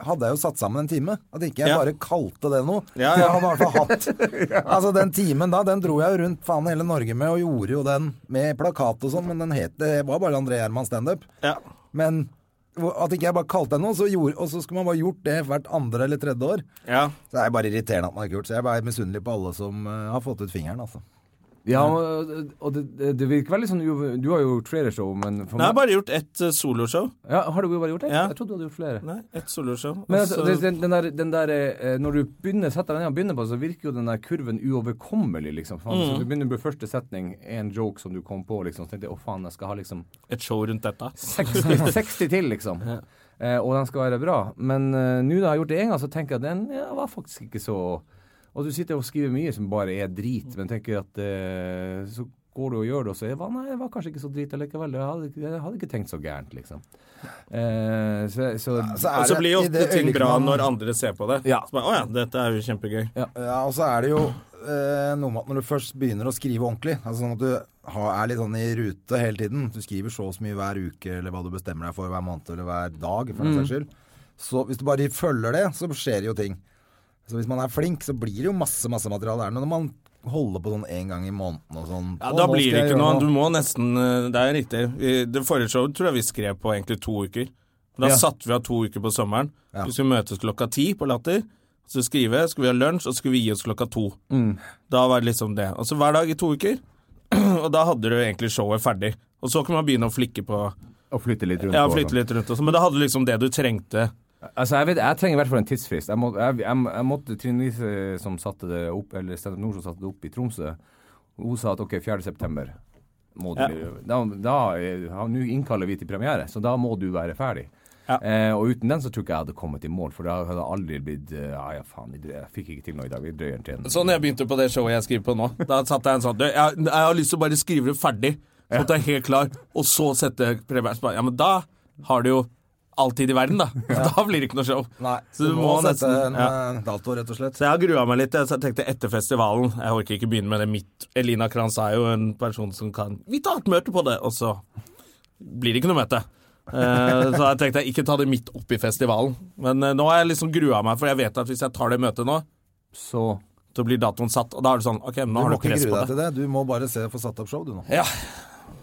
Speaker 1: hadde jeg jo satt sammen en time. At ikke jeg
Speaker 2: Ja.
Speaker 1: bare kalte det noe.
Speaker 2: Ja,
Speaker 1: Jeg
Speaker 2: ja.
Speaker 1: hadde i hvert fall hatt
Speaker 2: (laughs)
Speaker 1: Altså, den timen da, den dro jeg jo rundt faen hele Norge med, og gjorde jo den med plakat og sånn, men den het Det var bare André Gjerman standup.
Speaker 2: ja.
Speaker 1: Men hvor- at ikke jeg bare kalte det noe, så gjorde, og så skulle man bare gjort det hvert andre eller tredje år.
Speaker 2: ja.
Speaker 1: Så det er bare irriterende at man ikke har gjort Så jeg er bare misunnelig på alle som eh, har fått ut fingeren, altså.
Speaker 3: Ja, og, og det, det virker veldig sånn uv- Du har jo gjort flere show, men for
Speaker 2: Nei, jeg har
Speaker 3: meg
Speaker 2: bare gjort ett eh, soloshow.
Speaker 3: ja, Har du jo bare gjort det?
Speaker 2: Ja.
Speaker 3: Jeg trodde du hadde gjort flere.
Speaker 2: Nei, ett soloshow.
Speaker 3: Men
Speaker 2: Og
Speaker 3: altså,
Speaker 2: så-
Speaker 3: det- den, den der, den der eh, Når du begynner setter deg ned og begynner på, så virker jo den der kurven uoverkommelig, liksom. Faen,
Speaker 2: Mm.
Speaker 3: så du begynner med første setning, en joke som du kom på, liksom. Så tenkte jeg å faen, jeg skal
Speaker 2: (laughs)
Speaker 3: ha liksom
Speaker 2: Et show rundt dette.
Speaker 3: 60, 60 til, liksom. Eh, og den skal være bra. Men eh, nå da jeg har gjort det én gang, så tenker jeg at den ja, var faktisk ikke så Og du sitter og skriver mye som bare er drit, men tenker at eh, så går du og gjør det, og så er, nei, det var kanskje ikke så drit allikevel. Jeg hadde, ikke- jeg hadde ikke tenkt så gærent, liksom. Eh, så, så
Speaker 1: Så er
Speaker 2: Og så
Speaker 1: det-
Speaker 2: blir jo
Speaker 1: i
Speaker 2: ofte
Speaker 1: det
Speaker 2: ting
Speaker 1: øyeblikket
Speaker 2: bra
Speaker 1: man-
Speaker 2: når andre ser på det.
Speaker 3: Ja.
Speaker 2: Så bare, Å ja, dette er jo kjempegøy.
Speaker 1: Ja, og så er det jo eh, noe med at når du først begynner å skrive ordentlig, altså sånn at du har, er litt sånn i rute hele tiden, du skriver så og så mye hver uke, eller hva du bestemmer deg for hver måned, eller hver dag, for den saks skyld, så hvis du bare følger det, så skjer jo ting. Så hvis man er flink, så blir det jo masse, masse materiale der. Men når man holder på sånn en gang i måneden og sånn
Speaker 2: Ja,
Speaker 1: «Å,
Speaker 2: da
Speaker 1: nå skal
Speaker 2: blir det
Speaker 1: jeg
Speaker 2: ikke
Speaker 1: gjøre
Speaker 2: noe. Du må nesten eh, Det er riktig. Vi- Det forrige showet tror jeg vi skrev på egentlig to uker. Da
Speaker 3: Ja.
Speaker 2: satte vi av to uker på sommeren.
Speaker 1: Ja.
Speaker 2: Vi skulle møtes klokka ti på Latter. Så skrive, skulle vi ha lunsj, og så skulle vi gi oss klokka to.
Speaker 1: Mm.
Speaker 2: Da var det liksom det. Og så hver dag i to uker. (clears throat) Og da hadde du egentlig showet ferdig. Og så kunne man begynne å flikke på
Speaker 3: Og flytte litt rundt.
Speaker 2: Ja,
Speaker 3: på,
Speaker 2: flytte
Speaker 3: sånn.
Speaker 2: litt rundt og sånn. Men da hadde du liksom det du trengte.
Speaker 3: Altså, jeg, vet, jeg trenger i hvert fall en tidsfrist. Jeg, må, jeg, jeg, jeg måtte Trine Lise, som satte det opp, eller Standup Nord, som satte det opp i Tromsø, hun sa at OK, 4. september må du Da, da er- ja, Nå innkaller vi til premiere, så da må du være ferdig.
Speaker 2: Ja.
Speaker 3: Eh, og uten den så tror ikke jeg hadde kommet i mål, for da hadde jeg aldri blitt eh, Ja, ja, faen, vi drøy- jeg fikk ikke til noe i dag. Vi drøyer den til en
Speaker 2: Sånn jeg begynte på det showet jeg skriver på nå. Da satte jeg en sånn «Du, Jeg, jeg har lyst til å bare skrive det ferdig, sånn at jeg er helt klar, og så sette premieren. Så bare, Ja, men da har du jo all tid i verden, da. (laughs) Da blir det ikke noe show.
Speaker 1: Nei,
Speaker 2: Så du må
Speaker 1: sette
Speaker 2: nesten-
Speaker 1: en
Speaker 2: ja.
Speaker 1: eh, dato, rett og slett.
Speaker 2: Så jeg har grua meg litt. Jeg tenkte etter festivalen Jeg orker ikke begynne med det mitt. Elina Kranz er jo en person som kan Vi tar et møte på det, og så blir det ikke noe møte. Eh, så jeg tenkte jeg ikke ta det midt oppi festivalen. Men eh, nå har jeg liksom grua meg, for jeg vet at hvis jeg tar det møtet nå,
Speaker 3: Så
Speaker 2: så blir datoen satt. Og da er det sånn OK,
Speaker 1: Du
Speaker 2: nå
Speaker 1: må
Speaker 2: har du
Speaker 1: ikke
Speaker 2: press
Speaker 1: grue
Speaker 2: på det.
Speaker 1: deg til det. Du må bare se få satt opp show, du nå.
Speaker 2: Ja,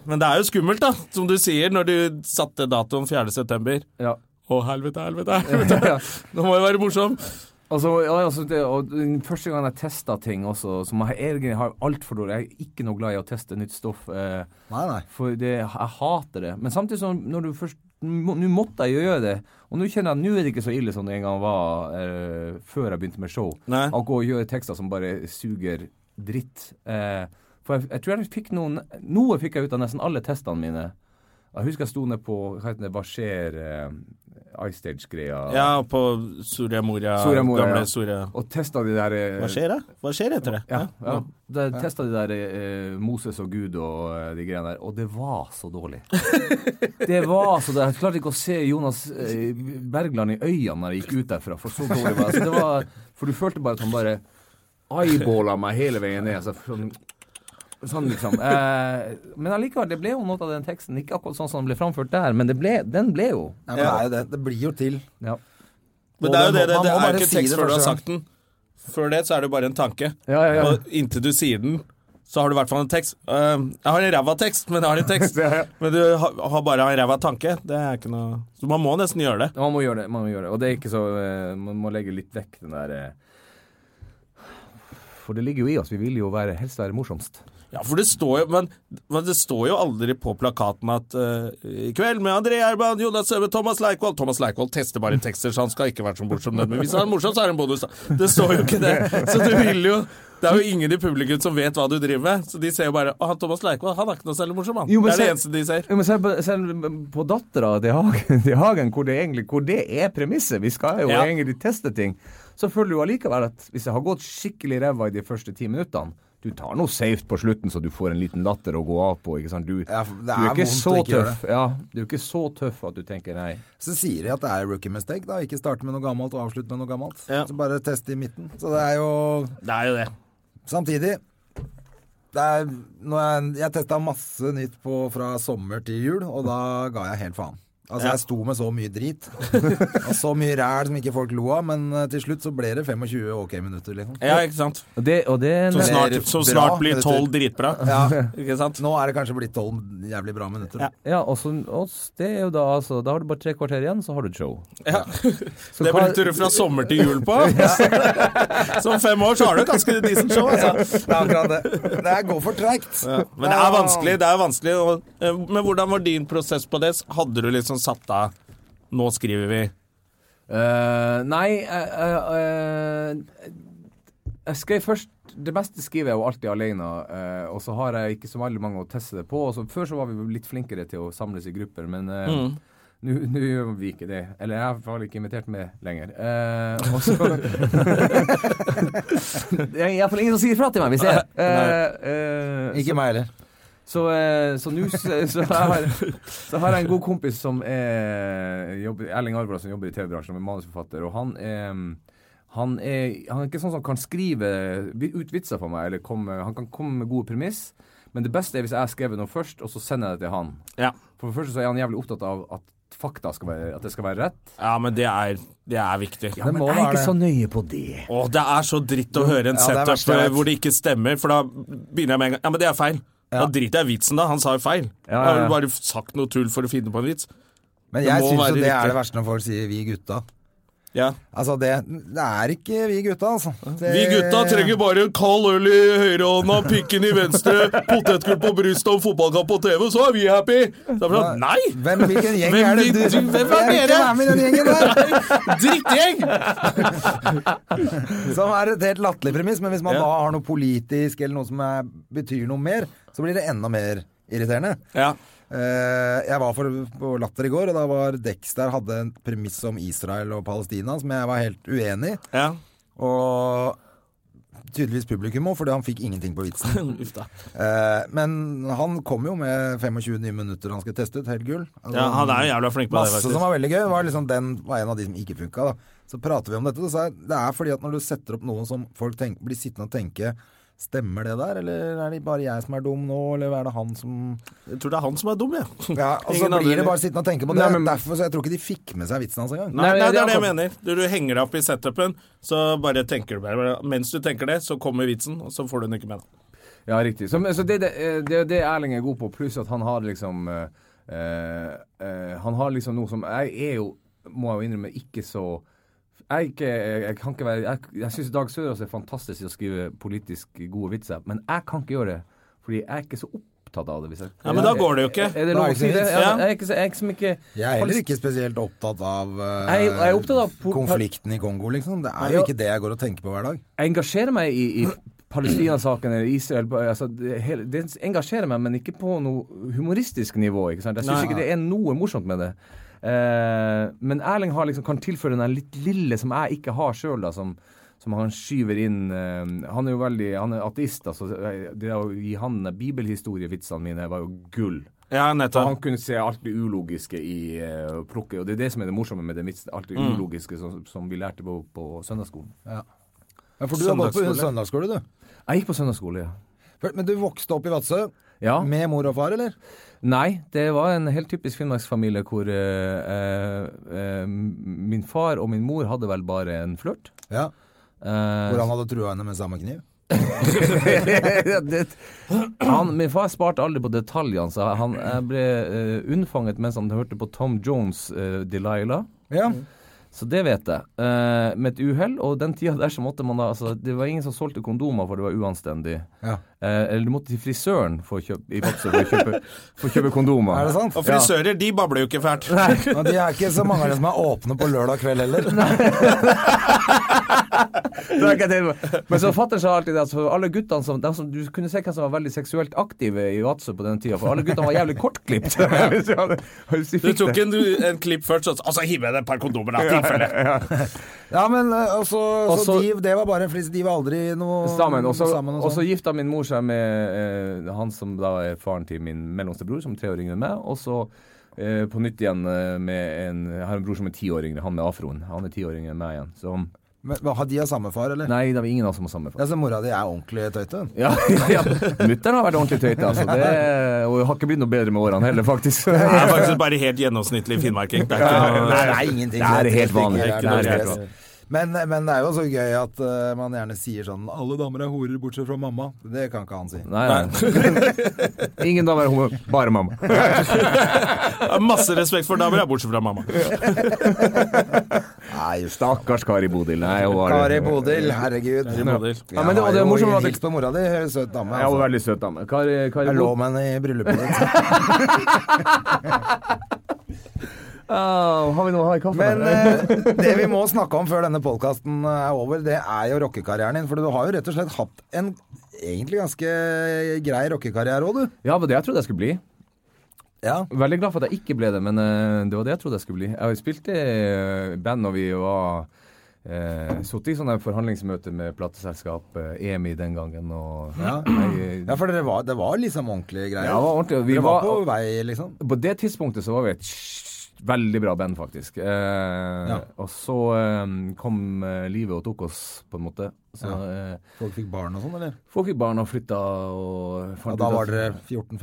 Speaker 2: men det er jo skummelt da, som du sier, når du satte datoen 4. september.
Speaker 3: Ja.
Speaker 2: Å, helvete,
Speaker 1: (laughs)
Speaker 2: helvete, helvete. Nå må jeg være morsom.
Speaker 3: Og så- ja, altså, det, og den første gang jeg testa ting også, som jeg egentlig har altfor dårlig Jeg er ikke noe glad i å teste nytt stoff. Eh,
Speaker 1: Nei, nei.
Speaker 3: For det, jeg hater det. Men samtidig som når du først Nå nå måtte jeg jo gjøre det. Og nå kjenner jeg at nå er det ikke så ille som det en gang var eh, før jeg begynte med show.
Speaker 2: Nei.
Speaker 3: Å gå og gjøre tekster som bare suger dritt. Eh, for jeg, jeg tror jeg fikk noen Noe fikk jeg ut av nesten alle testene mine. Jeg husker jeg sto ned på hva heter det, hva skjer eh, Ice Stage-greia.
Speaker 2: Ja, på Soria Moria,
Speaker 3: Soria Moria,
Speaker 2: gamle
Speaker 3: ja.
Speaker 2: Soria.
Speaker 3: Og testa de der eh,
Speaker 2: Hva skjer da? Hva skjer etter det?
Speaker 3: Ja, ja. Da testa de der eh, Moses og Gud og eh, de greiene der, og det var så (laughs) dårlig. det var så dårlig. Jeg klarte ikke å se Jonas eh, Bergland i øynene når jeg gikk ut derfra, for så dårlig var det. Så det var, for du følte bare at han bare eyeballa meg hele veien ned. Så sånn, sånn liksom. Eh, men allikevel, det ble jo noe av den teksten. Ikke akkurat sånn som den ble framført der, men det ble, den ble jo.
Speaker 1: Nei, men det, er jo det. det blir jo til.
Speaker 3: Ja.
Speaker 2: Men det er jo det, det,
Speaker 1: Man må
Speaker 2: det er
Speaker 1: bare
Speaker 2: jo ikke
Speaker 1: si
Speaker 2: tekst
Speaker 1: det
Speaker 2: før du har
Speaker 1: første gang.
Speaker 2: sagt den. Før det så er det bare en tanke.
Speaker 3: Ja, ja, ja.
Speaker 2: Og inntil du sier den, så har du i hvert fall en tekst. Eh, jeg har en ræva tekst, men jeg har en
Speaker 1: (laughs)
Speaker 2: tekst. Men du har har bare en ræva tanke. Det er ikke noe Så man må nesten gjøre det.
Speaker 3: Ja, Man må gjøre det. man må gjøre det Og det er ikke så eh, Man må legge litt vekk den der eh, For det ligger jo i oss. Vi vil jo være, helst være morsomst.
Speaker 2: Ja, for det står jo Men, men det står jo aldri på plakaten at eh, I kveld med André Erban, Jonas Øbe, Thomas Leikvoll Thomas Leikvoll tester bare tekster, så han skal ikke være så morsom nødvendigvis. Hvis han er morsom, så er han bonus. da. Det står jo ikke det. Så du vil jo Det er jo ingen i publikum som vet hva du driver med, så de ser jo bare Å, han Thomas Leikvoll, han er ikke noe særlig morsom, han.
Speaker 3: Jo, men
Speaker 2: det er det
Speaker 3: se-
Speaker 2: eneste de ser.
Speaker 3: Ja, men selv på, selv på dattera til Hagen, til Hagen hvor, det egentlig, hvor det er premisset Vi skal jo
Speaker 2: Ja.
Speaker 3: egentlig teste ting. Så føler du allikevel at hvis det har gått skikkelig ræva i de første ti minuttene Du tar noe safe på slutten, så du får en liten latter å gå av på. ikke sant? Du,
Speaker 1: Ja, for det
Speaker 3: du
Speaker 1: er
Speaker 3: er ikke
Speaker 1: vondt
Speaker 3: så
Speaker 1: å ikke gjøre
Speaker 3: tøff. Ja, du er ikke så tøff at du tenker nei.
Speaker 1: Så sier de at det er rookie mistake, da. Ikke starte med noe gammelt og avslutte med noe gammelt.
Speaker 2: Ja.
Speaker 1: Så bare teste i midten. Så det er jo
Speaker 2: Det er jo det.
Speaker 1: Samtidig det er, når jeg, jeg testa masse nytt på, fra sommer til jul, og da ga jeg helt faen. Altså, jeg sto med så mye drit. (laughs) og så mye ræl som ikke folk lo av, men eh, til slutt så ble det 25 ok minutter, liksom.
Speaker 2: Ja, ikke sant?
Speaker 3: Og det, og det er en,
Speaker 2: Som snart,
Speaker 1: Det er
Speaker 2: som
Speaker 1: bra,
Speaker 2: snart blir
Speaker 1: men det-
Speaker 2: tolv dritbra.
Speaker 1: Ja.
Speaker 2: Ikke sant?
Speaker 1: Nå er det kanskje blitt tolv jævlig bra minutter.
Speaker 2: Ja.
Speaker 3: ja, og så, og s- det er jo da altså Da har du bare tre kvarter igjen, så har du et show.
Speaker 2: Ja.
Speaker 3: Så
Speaker 2: Det
Speaker 3: hva-
Speaker 2: brukte du fra sommer til jul på. (laughs) Som fem år så har du et ganske decent show.
Speaker 1: Det
Speaker 2: Altså.
Speaker 1: er akkurat det. Det her går for treigt.
Speaker 2: Men det er vanskelig. det er vanskelig og, eh, Men hvordan var din prosess på det? Hadde du liksom satt av Nå skriver vi.
Speaker 3: Eh, nei eh, eh, eh, jeg Skal jeg først Det meste skriver jeg jo alltid alene, eh, og så har jeg ikke så veldig mange å teste det på. Og så, før så var vi jo litt flinkere til å samles i grupper, men eh, nå nå gjør vi ikke det. Eller jeg har i hvert fall ikke invitert med lenger. Eh, og så (laughs) Det er iallfall ingen som sier ifra til meg hvis jeg eh, eh,
Speaker 1: Ikke meg heller.
Speaker 3: så, eh, så nå s- så har, så har jeg en god kompis som er jobber, Erling Arbrad, som jobber i TV-bransjen som er manusforfatter, og han er han er, han er ikke sånn som kan skrive vi- ut vitser for meg. Eller komme, han kan komme med gode premiss, men det beste er hvis jeg har skrevet noe først, og så sender jeg det til han.
Speaker 2: Ja,
Speaker 3: For det første så er han jævlig opptatt av at fakta skal være, at det skal være rett.
Speaker 2: ja men det er, det er viktig.
Speaker 3: Ja, men
Speaker 1: må
Speaker 3: jeg er
Speaker 1: være
Speaker 3: ikke
Speaker 1: det.
Speaker 3: så nøye på det.
Speaker 2: Å, det er så dritt å høre
Speaker 1: Ja, det
Speaker 2: en
Speaker 1: er
Speaker 2: setup
Speaker 1: verst jeg vet.
Speaker 2: hvor det ikke stemmer, for da begynner jeg med en gang Ja, men det er feil. Da driter jeg i vitsen, da. Han sa jo feil.
Speaker 3: Ja, ja,
Speaker 2: Jeg
Speaker 3: ja.
Speaker 2: har bare sagt noe tull for å finne på en vits.
Speaker 1: Men
Speaker 2: Det
Speaker 1: jeg
Speaker 2: må
Speaker 1: syns
Speaker 2: være
Speaker 1: jo det
Speaker 2: riktig.
Speaker 1: er det verste når folk sier 'vi gutta'.
Speaker 2: Ja.
Speaker 1: Altså, det, det er ikke vi gutta, altså. Det,
Speaker 2: Vi gutta trenger bare en kald øl i høyrehånda, pikken i venstre, potetgull på brystet og fotballkamp på TV, så er vi happy! Så er det sånn, nei!
Speaker 1: Hvem, hvilken gjeng
Speaker 2: Hvem
Speaker 1: er det du
Speaker 2: vil du- hvem er
Speaker 1: Jeg vil ikke
Speaker 2: dere?
Speaker 1: være med i den gjengen
Speaker 2: (laughs)
Speaker 1: der!
Speaker 2: Drittgjeng!
Speaker 1: Som er et helt latterlig premiss, men hvis man
Speaker 2: Ja.
Speaker 1: da har noe politisk eller noe som er, betyr noe mer, så blir det enda mer irriterende.
Speaker 2: Ja.
Speaker 1: Eh, jeg var for, på Latter i går, og da var Dexter hadde en premiss om Israel og Palestina som jeg var helt uenig i.
Speaker 2: ja.
Speaker 1: Og tydeligvis publikum òg, fordi han fikk ingenting på vitsen.
Speaker 2: (laughs) Uff da.
Speaker 1: Eh, men han kom jo med 25 nye minutter han skulle teste ut, helt gull. Altså,
Speaker 2: Ja, han er jo jævla flink på det,
Speaker 1: Masse
Speaker 2: faktisk.
Speaker 1: som var veldig gøy. Var liksom den var en av de som ikke funka. Da. Så prater vi om dette, og så er det er fordi at når du setter opp noe som folk tenk, blir sittende og tenke Stemmer det der, eller er det bare jeg som er dum nå, eller er det han som
Speaker 2: Jeg tror det er han som er (laughs) dum, jeg.
Speaker 1: Ja, og så
Speaker 2: Ingen andre-
Speaker 1: blir det bare sittende og tenke på det.
Speaker 3: Nei, men-
Speaker 1: Derfor, så jeg tror ikke de fikk med seg vitsen hans engang.
Speaker 2: Nei,
Speaker 3: Nei,
Speaker 2: nei, det er
Speaker 3: det
Speaker 2: det
Speaker 3: er
Speaker 2: jeg mener. Du, du henger deg opp i setupen, så bare tenker du bare Mens du tenker det, så kommer vitsen, og så får du den ikke med deg.
Speaker 3: Ja, riktig. Så, så det, det, det er det Erling er god på, pluss at han har liksom eh, eh, eh, Han har liksom noe som Jeg er jo, må jeg jo innrømme, ikke så jeg, er ikke, jeg, jeg kan ikke være Jeg, jeg syns Dag Sørås er fantastisk i å skrive politisk gode vitser, men jeg kan ikke gjøre det. Fordi jeg er ikke så opptatt av det. Hvis jeg,
Speaker 2: Ja, men da går det jo ikke.
Speaker 3: Er
Speaker 1: Da
Speaker 3: det lov
Speaker 1: er
Speaker 3: å
Speaker 1: det
Speaker 3: si
Speaker 1: ikke
Speaker 3: det?
Speaker 1: vits.
Speaker 3: Ja,
Speaker 2: Ja.
Speaker 3: Jeg er ikke, så- jeg er ikke, som ikke
Speaker 1: Jeg er heller ikke spesielt opptatt av, eh,
Speaker 3: Jeg er- jeg er opptatt av po-
Speaker 1: konflikten i Kongo, liksom. Det
Speaker 3: Nei,
Speaker 1: er jo
Speaker 3: og-
Speaker 1: ikke det jeg går og tenker på hver dag.
Speaker 3: Jeg engasjerer meg i, i Palestina-saken eller Israel altså, det, hele, det engasjerer meg, men ikke på noe humoristisk nivå. Ikke sant? Jeg syns
Speaker 2: Nei.
Speaker 3: ikke det er noe morsomt med det. Eh, men Erling har liksom, kan tilføre den der litt lille som jeg ikke har sjøl, som, som han skyver inn eh, Han er jo veldig Han er ateist, altså. Det å gi han bibelhistorievitsene mine var jo gull.
Speaker 2: Ja,
Speaker 3: For
Speaker 2: nettopp.
Speaker 3: han kunne se alt det ulogiske i eh, plukket, og det er det som er det morsomme med den vitsen. Alt det
Speaker 2: Mm.
Speaker 3: ulogiske som, som vi lærte på, på søndagsskolen.
Speaker 1: Ja, for du har gått på
Speaker 2: Søndagsskole.
Speaker 1: søndagsskole, du.
Speaker 3: Jeg gikk på søndagsskole, ja.
Speaker 1: For- Men du vokste opp i Vadsø
Speaker 3: Ja.
Speaker 1: med mor og far, eller?
Speaker 3: Nei, det var en helt typisk finnmarksfamilie hvor eh, eh, eh, min far og min mor hadde vel bare en flørt.
Speaker 1: Ja.
Speaker 3: Eh, (laughs)
Speaker 1: Hvor han hadde trua henne med samme kniv?
Speaker 3: det, han, min far sparte aldri på detaljene, så han jeg ble eh, unnfanget mens han hørte på Tom Jones' eh, 'Delilah'.
Speaker 1: Ja.
Speaker 3: Så det vet jeg. Eh, med et uhell, og den tida der så måtte man da altså, Det var ingen som solgte kondomer, for det var uanstendig.
Speaker 1: Ja.
Speaker 3: Eh, eller du måtte til frisøren for å kjøpe, i Vadsø for, å kjøpe- for å kjøpe kondomer.
Speaker 1: Er det sant?
Speaker 2: Og frisører, de babler jo ikke fælt.
Speaker 1: Og de er ikke så mange av dem som er åpne på lørdag kveld heller.
Speaker 3: Det er ikke det. Men så fatter sa alltid det at for alle guttene som, de som Du kunne se hvem som var veldig seksuelt aktive i Vadsø på den tida, for alle guttene var jævlig (laughs) kortklipt. Hvis de hadde- hvis de
Speaker 2: (laughs) Du
Speaker 3: fikk
Speaker 2: tok
Speaker 3: det.
Speaker 2: en, en klipp først, så altså, hiv med deg et par kondomer, da. Tilfelle.
Speaker 1: Ja, men eh, også,
Speaker 3: Og
Speaker 1: så
Speaker 3: så-
Speaker 1: de, det var bare en flis. De var aldri noe
Speaker 3: Sammen. Og så-
Speaker 1: sammen og
Speaker 3: og så
Speaker 1: sånn.
Speaker 3: gifta min mor seg med eh, han som da er faren til min mellomste bror, som er tre år yngre enn meg. Og så eh, på nytt igjen eh, med en Jeg har en bror som er ti år yngre, han med afroen. Han er ti år yngre enn meg igjen. Så
Speaker 1: Men, hva, har de av samme far, eller?
Speaker 3: Nei, det er ingen av oss som har samme far.
Speaker 1: Ja, Så mora di er ordentlig tøyte? hun.
Speaker 3: Ja, (laughs) ja, ja. Mutter'n har vært ordentlig tøyte, altså. Det, og har ikke blitt noe bedre med årene heller, faktisk.
Speaker 2: Det er faktisk bare helt gjennomsnittlig finnmarking. Det er ikke noe-
Speaker 1: Nei, det er ingenting.
Speaker 3: Det er helt vanlig.
Speaker 1: Det er
Speaker 2: Det er
Speaker 1: null
Speaker 2: helt
Speaker 1: stress. Men, men det er jo så gøy at eh, man gjerne sier sånn 'Alle damer er horer, bortsett fra mamma'. Det kan ikke han si.
Speaker 3: Nei, nei. (laughs) Ingen damer er homo, bare mamma.
Speaker 2: Jeg har Masse respekt for damer, ja, bortsett fra mamma.
Speaker 1: Nei, just da.
Speaker 3: Stakkars Kari Bodil. Nei, hun var
Speaker 1: Kari Bodil, herregud.
Speaker 2: Kari Bodil.
Speaker 3: Ja, men det- og det er morsomt at det-
Speaker 1: Hils på mora di, hun er søt dame.
Speaker 3: Ja,
Speaker 1: Altså.
Speaker 3: hun var veldig søt dame. Kari, Kari
Speaker 1: Jeg lå
Speaker 3: Bodil.
Speaker 1: med henne i bryllupet ditt. (laughs)
Speaker 3: Ah, har vi noe å ha i kaffen?
Speaker 1: Men
Speaker 3: eller?
Speaker 1: eh, det vi må snakke om før denne podkasten er over, det er jo rockekarrieren din. For du har jo rett og slett hatt en egentlig ganske grei rockekarriere òg, du.
Speaker 3: (laughs) Ja, det var det jeg trodde jeg skulle bli.
Speaker 1: Ja.
Speaker 3: Veldig glad for at jeg ikke ble det, men eh, det var det jeg trodde jeg skulle bli. Jeg spilte i eh, band når vi var eh, Sittet i sånne forhandlingsmøter med plateselskap eh, EMI den gangen og eh,
Speaker 1: Ja.
Speaker 3: Jeg-
Speaker 1: Ja, for dere var, det var liksom ordentlige greier.
Speaker 3: Ja, det var ordentlig. Vi
Speaker 1: dere var,
Speaker 3: var-
Speaker 1: på vei, liksom.
Speaker 3: På det tidspunktet så var vi et sj- veldig bra band, faktisk. Eh,
Speaker 1: Ja.
Speaker 3: Og så eh, kom eh, livet og tok oss, på en måte. Så, eh,
Speaker 1: Folk fikk barn og sånn, eller?
Speaker 3: folk fikk barn og flytta og
Speaker 1: Ja,
Speaker 3: fant
Speaker 1: da
Speaker 3: ut
Speaker 1: var
Speaker 3: at-
Speaker 1: dere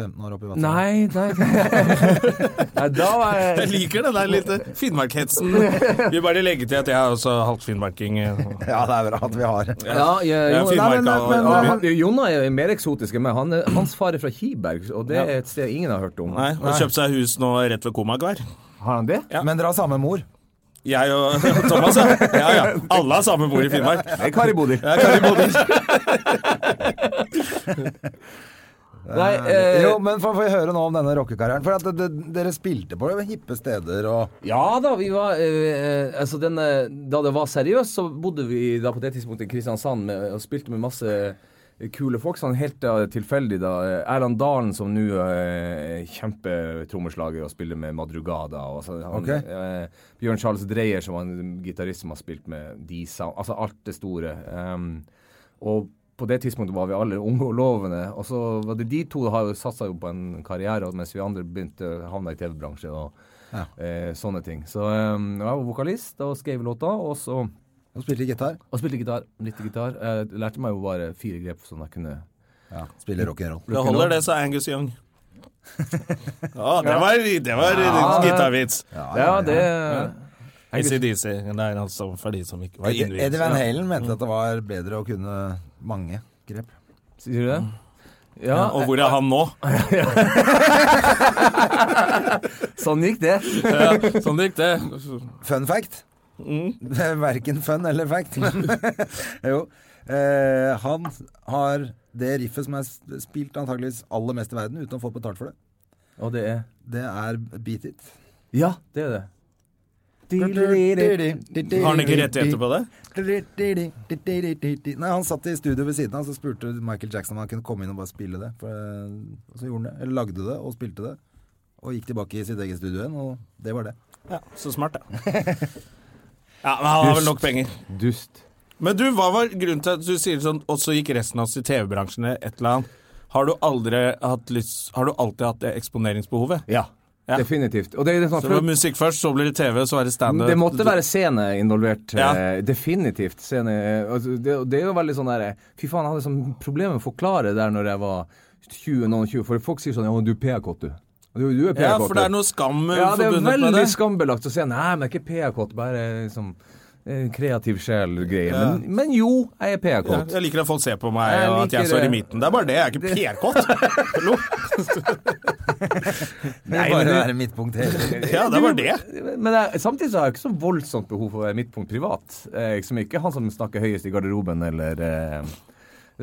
Speaker 1: 14-15 år oppe i vattnet.
Speaker 3: Nei, nei. nei, da var
Speaker 2: Jeg
Speaker 3: jeg
Speaker 2: liker den der litt eh, Finnmarkhetsen. Vi bare legger til at jeg er også halvt finnmarking. eh.
Speaker 1: Ja, det er bra at vi har.
Speaker 3: Ja,
Speaker 2: Jeg
Speaker 3: jeg,
Speaker 2: er
Speaker 3: jo, nei, men,
Speaker 2: finnmarka
Speaker 3: men,
Speaker 2: og- og-
Speaker 3: han- Jonna er mer eksotisk enn meg. Han er, hans far er fra Kiberg, og det er et sted ingen har hørt om.
Speaker 2: Nei, og kjøpt seg hus nå rett ved Komagvær.
Speaker 3: Har han det?
Speaker 1: Men dere har samme mor.
Speaker 2: Jeg og (laughs) Thomas, ja. ja, ja. Alle har samme bord i Finnmark.
Speaker 3: Nei, Kari Bodil.
Speaker 2: Jeg kan i Bodø.
Speaker 3: (laughs) Nei, eh,
Speaker 1: jo, men få få høre nå om denne rockekarrieren. For at det, det, dere spilte på hippe steder og
Speaker 3: Ja da, vi var eh, Altså, den, eh, da det var seriøst, så bodde vi da på det tidspunktet i Kristiansand med, og spilte med masse eh, kule folk. Sånn helt eh, tilfeldig, da. Eh, Erland Dalen, som nå eh, er kjempetrommeslager og spiller med Madrugada. Og så, han,
Speaker 1: Ok.
Speaker 3: eh, Bjørn Charles Dreyer, som var en gitarist som har spilt med Disa. Altså alt det store. Ehm, og på det tidspunktet var vi alle unge og lovende. Og så var det de to har jo satsa jo på en karriere, mens vi andre begynte havna i TV-bransjen. og Eh, sånne ting. Så eh, jeg var vokalist og skrev låta, og så
Speaker 1: og spilte gitar.
Speaker 3: og spilte gitar. Litt gitar. Jeg lærte meg jo bare fire grep, sånn jeg kunne
Speaker 1: Ja, spiller rock'n'roll.
Speaker 2: Det holder, det, sa Angus Young. Ja, det var, det var gitarvits.
Speaker 3: Ja, det
Speaker 2: ACDC. Det er altså for de som ikke var
Speaker 1: Eddie
Speaker 2: innviet.
Speaker 1: Van Halen mente at det var bedre å kunne mange grep.
Speaker 3: Sier du det?
Speaker 2: Ja,
Speaker 3: Ja,
Speaker 2: og hvor er han nå?
Speaker 3: sånn gikk det.
Speaker 2: (laughs) Ja, sånn gikk det.
Speaker 1: Fun fact.
Speaker 2: Mm.
Speaker 1: (laughs) Det er Verken fun eller fact. Men (laughs) jo. Eh, han har det riffet som er s- spilt antakeligvis aller mest i verden, uten å få betalt for det.
Speaker 3: Og det er
Speaker 1: Det er Beat It.
Speaker 3: Ja, det er det.
Speaker 2: Har han ikke rettigheter på det?
Speaker 1: Nei, han satt i studio ved siden av, så spurte Michael Jackson om han kunne komme inn og bare spille det. For, eh, og så gjorde han det. Eller lagde det, og spilte det. Og gikk tilbake i sitt eget studio igjen, og det var det.
Speaker 2: Ja, så (laughs) smart, da. Ja, men han har vel nok penger.
Speaker 3: Dust.
Speaker 2: Men du, hva var grunnen til at du sier sånn, og så gikk resten av oss i TV-bransjen eller et eller annet. Har du aldri hatt lyst Har du alltid hatt det eksponeringsbehovet?
Speaker 3: Ja.
Speaker 2: Ja.
Speaker 3: Definitivt. Og det er litt sånn
Speaker 2: Så det var musikk først, så blir det TV, så er det standup.
Speaker 3: Det måtte være scene involvert.
Speaker 2: Ja.
Speaker 3: eh, Definitivt. Scene, eh, altså, det, det er jo veldig sånn der eh, Fy faen, jeg hadde sånn problemer med å forklare det der når jeg var 20, noen 20, for folk sier sånn Ja, men du er PR-kåt, du. Du, du er
Speaker 2: Ja,
Speaker 3: PR-kåt.
Speaker 2: for det er noe skam eh,
Speaker 3: ja, det er
Speaker 2: forbundet med
Speaker 3: veldig
Speaker 2: det.
Speaker 3: skambelagt å si nei, men jeg er ikke PR-kåt, bare liksom eh, kreativ sjel-greie. Men, men jo, jeg er
Speaker 2: Ja,
Speaker 3: PR-kåt.
Speaker 2: Jeg liker at folk ser på meg
Speaker 3: Jeg
Speaker 2: og at jeg
Speaker 3: liker
Speaker 2: står i
Speaker 3: det.
Speaker 2: midten. Det er bare det, jeg er ikke
Speaker 3: (laughs)
Speaker 2: PR-kåt. Hallo?
Speaker 1: Nei,
Speaker 3: men
Speaker 1: bare
Speaker 3: det-
Speaker 1: være midtpunkt hele
Speaker 2: Ja, det er bare det.
Speaker 3: Men jeg, samtidig så har jeg ikke så voldsomt behov for å være midtpunkt privat. Eh, liksom ikke han som snakker høyest i garderoben, eller eh,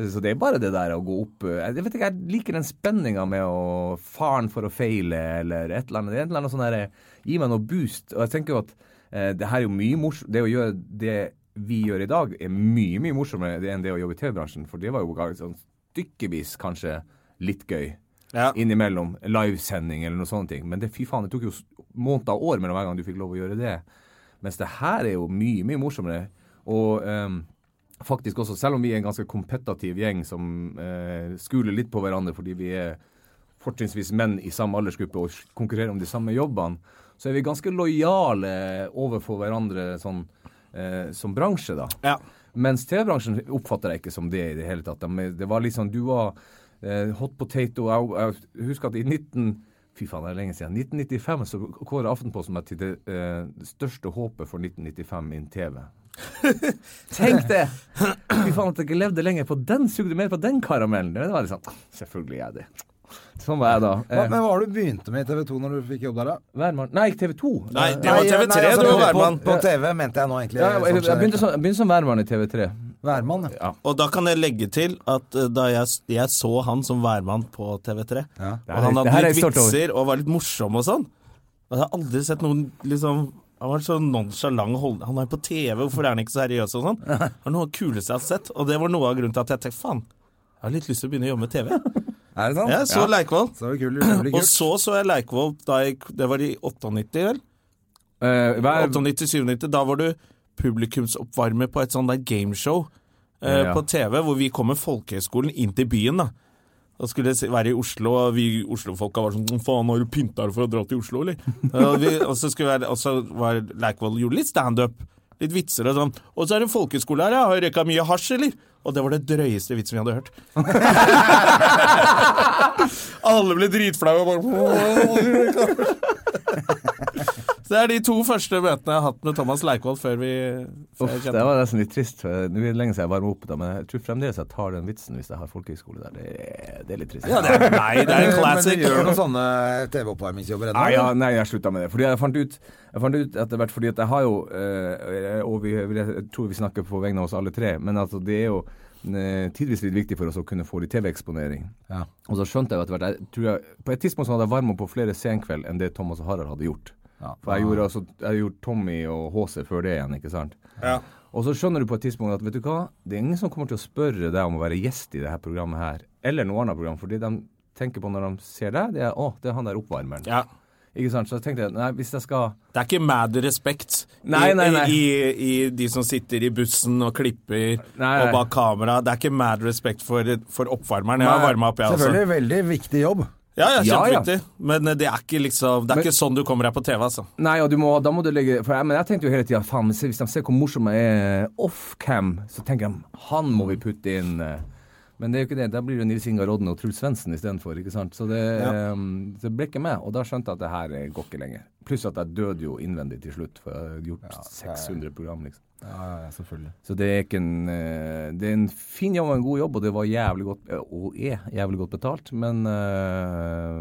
Speaker 3: Så det er bare det der å gå opp eh, Jeg vet ikke, jeg liker den spenninga med å Faren for å feile, eller et eller annet. Det er et eller annet sånn derre Gi meg noe boost. Og jeg tenker jo at eh, det her er jo mye morsomt Det å gjøre det vi gjør i dag, er mye, mye morsommere enn det å jobbe i TV-bransjen, for det var jo ganske sånn stykkevis kanskje litt gøy
Speaker 2: Ja.
Speaker 3: innimellom. Livesending eller noe sånne ting. Men det, fy faen, det tok jo s- måneder og år mellom hver gang du fikk lov å gjøre det. Mens det her er jo mye, mye morsommere. Og ehm, faktisk også, selv om vi er en ganske kompetativ gjeng som eh, skuler litt på hverandre fordi vi er fortrinnsvis menn i samme aldersgruppe og s- konkurrerer om de samme jobbene, så er vi ganske lojale overfor hverandre sånn eh, som bransje, da.
Speaker 2: Ja.
Speaker 3: Mens TV-bransjen oppfatter jeg ikke som det i det hele tatt. De- Det var liksom Du var eh, hot potato Jeg, jeg husker at i 19... Fy faen, det er lenge siden. 1995 så kåret Aftenposten meg til det eh, største håpet for 1995 innen
Speaker 1: (laughs)
Speaker 3: TV. Tenk det! Fy faen at jeg ikke levde lenger på den. Sugde mer på den karamellen. Det var liksom, Selvfølgelig er jeg det. Sånn var jeg da.
Speaker 1: Hva,
Speaker 3: Eh,
Speaker 1: men hva var det du begynte med i TV 2 når du fikk jobb der, da? altså,
Speaker 3: hver morgen Nei, TV 2.
Speaker 2: Nei, det var TV3
Speaker 3: altså,
Speaker 2: du var
Speaker 1: på,
Speaker 2: værmann.
Speaker 1: på TV mente jeg nå egentlig.
Speaker 3: Ja, jeg, jeg, jeg,
Speaker 1: sånn
Speaker 3: begynte som, jeg begynte som værmann i TV3.
Speaker 1: Værmann, ja.
Speaker 2: Og da kan jeg legge til at eh, da jeg, s- jeg så han som værmann på TV3,
Speaker 3: Det
Speaker 2: og
Speaker 3: her er-
Speaker 2: han
Speaker 3: det her er
Speaker 2: hadde
Speaker 3: jeg
Speaker 2: litt
Speaker 3: stolt over.
Speaker 2: vitser og var litt morsom og sånn Og Jeg har aldri sett noen liksom Han var så nonchalant holdning. Han er på TV, hvorfor er han ikke seriøs
Speaker 3: (laughs)
Speaker 2: og sånn? Det var noe av det kuleste jeg har sett, og det var noe av grunnen til at jeg tenkte faen, jeg har litt lyst til å begynne å jobbe
Speaker 3: (laughs)
Speaker 2: med TV.
Speaker 1: Er det sant?
Speaker 2: Jeg så Leikvoll.
Speaker 1: Så kul, utrolig
Speaker 2: Og
Speaker 1: kult.
Speaker 2: så så jeg Leikvoll da jeg Det var i 98, vel?
Speaker 3: Eh, hver,
Speaker 2: 98-97. Da var du publikumsoppvarmer på et sånt der gameshow eh,
Speaker 3: Ja.
Speaker 2: på TV, hvor vi kom med folkehøyskolen inn til byen, da. Da skulle det se- være i Oslo, og vi Oslo-folka var sånn «Hva Faen, har du pynta deg for å dra til Oslo,
Speaker 3: (laughs)
Speaker 2: eller? og, vi, og så skulle være, og så var Leikvoll gjorde litt standup. Litt vitser og sånn. Og så er det en folkehøyskole her, ja. Har du røyka mye hasj, eller? Og det var det drøyeste vitsen vi hadde hørt. Alle ble dritflaue og bare
Speaker 3: (laughs)
Speaker 2: Så det er de to første møtene jeg har hatt med Thomas Leikvoll før vi før jeg
Speaker 3: Uff,
Speaker 2: kjente
Speaker 3: det var nesten litt trist. for Nå er det lenge siden jeg varmer opp, da, men jeg tror fremdeles jeg tar den vitsen hvis jeg har folkehøyskole der. Det er, det er litt trist.
Speaker 2: Ja, det er, nei, det
Speaker 3: (laughs)
Speaker 2: er en classic.
Speaker 1: Men du gjør noen sånne eh, TV-oppvarmingsjobber ennå?
Speaker 3: Nei, Ah, ja, nei, jeg slutta med det. Fordi jeg fant ut, jeg fant ut etter hvert fordi at jeg har jo eh, Og vi, jeg tror vi snakker på vegne av oss alle tre, men altså, det er jo eh, tidvis litt viktig for oss å kunne få litt TV-eksponering.
Speaker 1: Ja.
Speaker 3: Og så skjønte jeg jo etter hvert jeg tror jeg, På et tidspunkt så hadde jeg varma på flere senkveld enn det Thomas og Harald hadde gjort.
Speaker 1: Ja.
Speaker 3: For jeg gjorde, altså, jeg gjorde Tommy og HC før det igjen, ikke sant?
Speaker 2: Ja.
Speaker 3: Og så skjønner du på et tidspunkt at vet du hva, det er ingen som kommer til å spørre deg om å være gjest i det her programmet her, eller noe annet program, fordi de tenker på når de ser deg, det er å, det er han der oppvarmeren.
Speaker 2: Ja.
Speaker 3: Ikke sant? Så jeg tenkte nei, hvis jeg skal
Speaker 2: Det er ikke mad respekt
Speaker 3: Nei,
Speaker 2: i,
Speaker 3: nei, nei.
Speaker 2: I, i de som sitter i bussen og klipper
Speaker 3: nei.
Speaker 2: og bak kamera. Det er ikke mad respekt for, for oppvarmeren. Jeg har
Speaker 3: Nei.
Speaker 2: varma opp, jeg også.
Speaker 1: Selvfølgelig veldig viktig jobb.
Speaker 2: Ja, ja,
Speaker 3: Ja, ja.
Speaker 2: kjempeviktig. Men eh, det er ikke liksom Det er
Speaker 3: Men-
Speaker 2: ikke sånn du kommer deg på TV, altså.
Speaker 3: Nei, og du må, da må du legge for jeg, Men jeg tenkte jo hele tida faen, men se- hvis de ser hvor morsom jeg er off-cam, så tenker de han må vi putte inn. eh. Men det er jo ikke det. Da blir det jo Nils Ingar Odden og Truls Svendsen istedenfor. ikke sant? Så det, eh, det ble ikke med. Og da skjønte jeg at det her eh, går ikke lenger. Pluss at jeg døde jo innvendig til slutt, for jeg hadde gjort 600 program, liksom.
Speaker 1: selvfølgelig.
Speaker 3: Så det er ikke en eh, Det er en fin jobb og en god jobb, og det var jævlig godt eh, Og er jævlig godt betalt, men eh,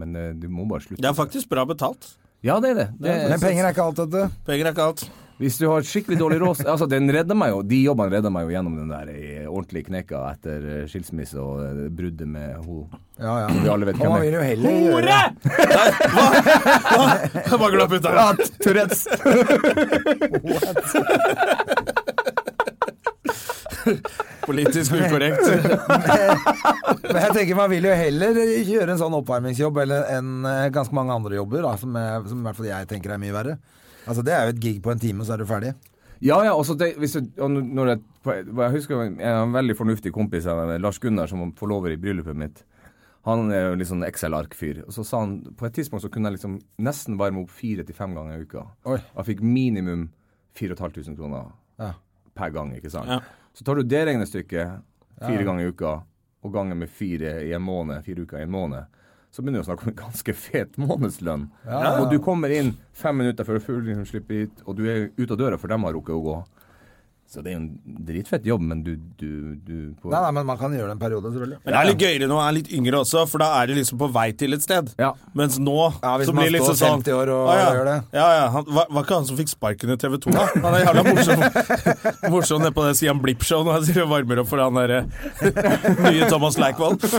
Speaker 3: Men eh, du må bare slutte.
Speaker 2: Det er faktisk bra betalt.
Speaker 3: Ja, det er det. det
Speaker 1: Men penger er ikke alt, vet du.
Speaker 2: Penger er ikke alt.
Speaker 3: Hvis du har skikkelig dårlig råd Altså, den redder meg jo. De jobbene redder meg jo gjennom den der eh, ordentlige knekka etter eh, skilsmisse og eh, bruddet med henne.
Speaker 1: Ja, ja.
Speaker 3: Vi alle vet
Speaker 1: Og man
Speaker 3: hvem
Speaker 1: vil
Speaker 3: er.
Speaker 1: jo heller gjøre
Speaker 2: Jeg bare glapp ut der.
Speaker 3: Ja, Tourettes!
Speaker 2: (laughs) Politisk ukorrekt.
Speaker 1: Men jeg tenker Man vil jo heller gjøre en sånn oppvarmingsjobb eller enn eh, ganske mange andre jobber, da, som, jeg, som i hvert fall jeg tenker er mye verre. Altså Det er jo et gig på en time, så er du ferdig.
Speaker 3: Ja, ja, også det, hvis du, og når jeg, jeg husker en, en veldig fornuftig kompis av meg, Lars Gunnar, som var forlover i bryllupet mitt. Han er jo litt sånn Excel-ark-fyr. Og så sa han på et tidspunkt så kunne jeg liksom nesten varme opp fire til fem ganger i uka.
Speaker 1: Oi.
Speaker 3: Og jeg fikk minimum 4500 kroner
Speaker 1: Ja.
Speaker 3: per gang, ikke sant.
Speaker 2: Ja.
Speaker 3: Så tar du det regnestykket fire ganger i uka, og ganger med fire i en måned, fire uker i en måned, så begynner du å snakke om en ganske fet månedslønn. Og du kommer inn fem minutter før fuglen slipper hit, og du er ute av døra for dem har rukket å gå. Så det er jo en dritfett jobb, men du, du, du på,
Speaker 1: Nei, nei, Men man kan gjøre det en periode, selvfølgelig.
Speaker 2: Men det er litt gøyere når man er litt yngre også, for da er det liksom på vei til et sted.
Speaker 3: Ja.
Speaker 2: Mens nå
Speaker 1: Ja, hvis
Speaker 2: så
Speaker 1: man
Speaker 2: blir det liksom
Speaker 1: står
Speaker 2: sånn
Speaker 1: 50 år og
Speaker 2: «Å ja,
Speaker 1: gjør det».
Speaker 2: Ja, ja, han, var, var ikke han som fikk sparken i TV 2, da? Han er jævla
Speaker 1: (laughs)
Speaker 2: morsom, morsom nede på det Sian Blipp-show når han sier og varmer opp for han derre (laughs) nye Thomas Leikvoll.
Speaker 1: Det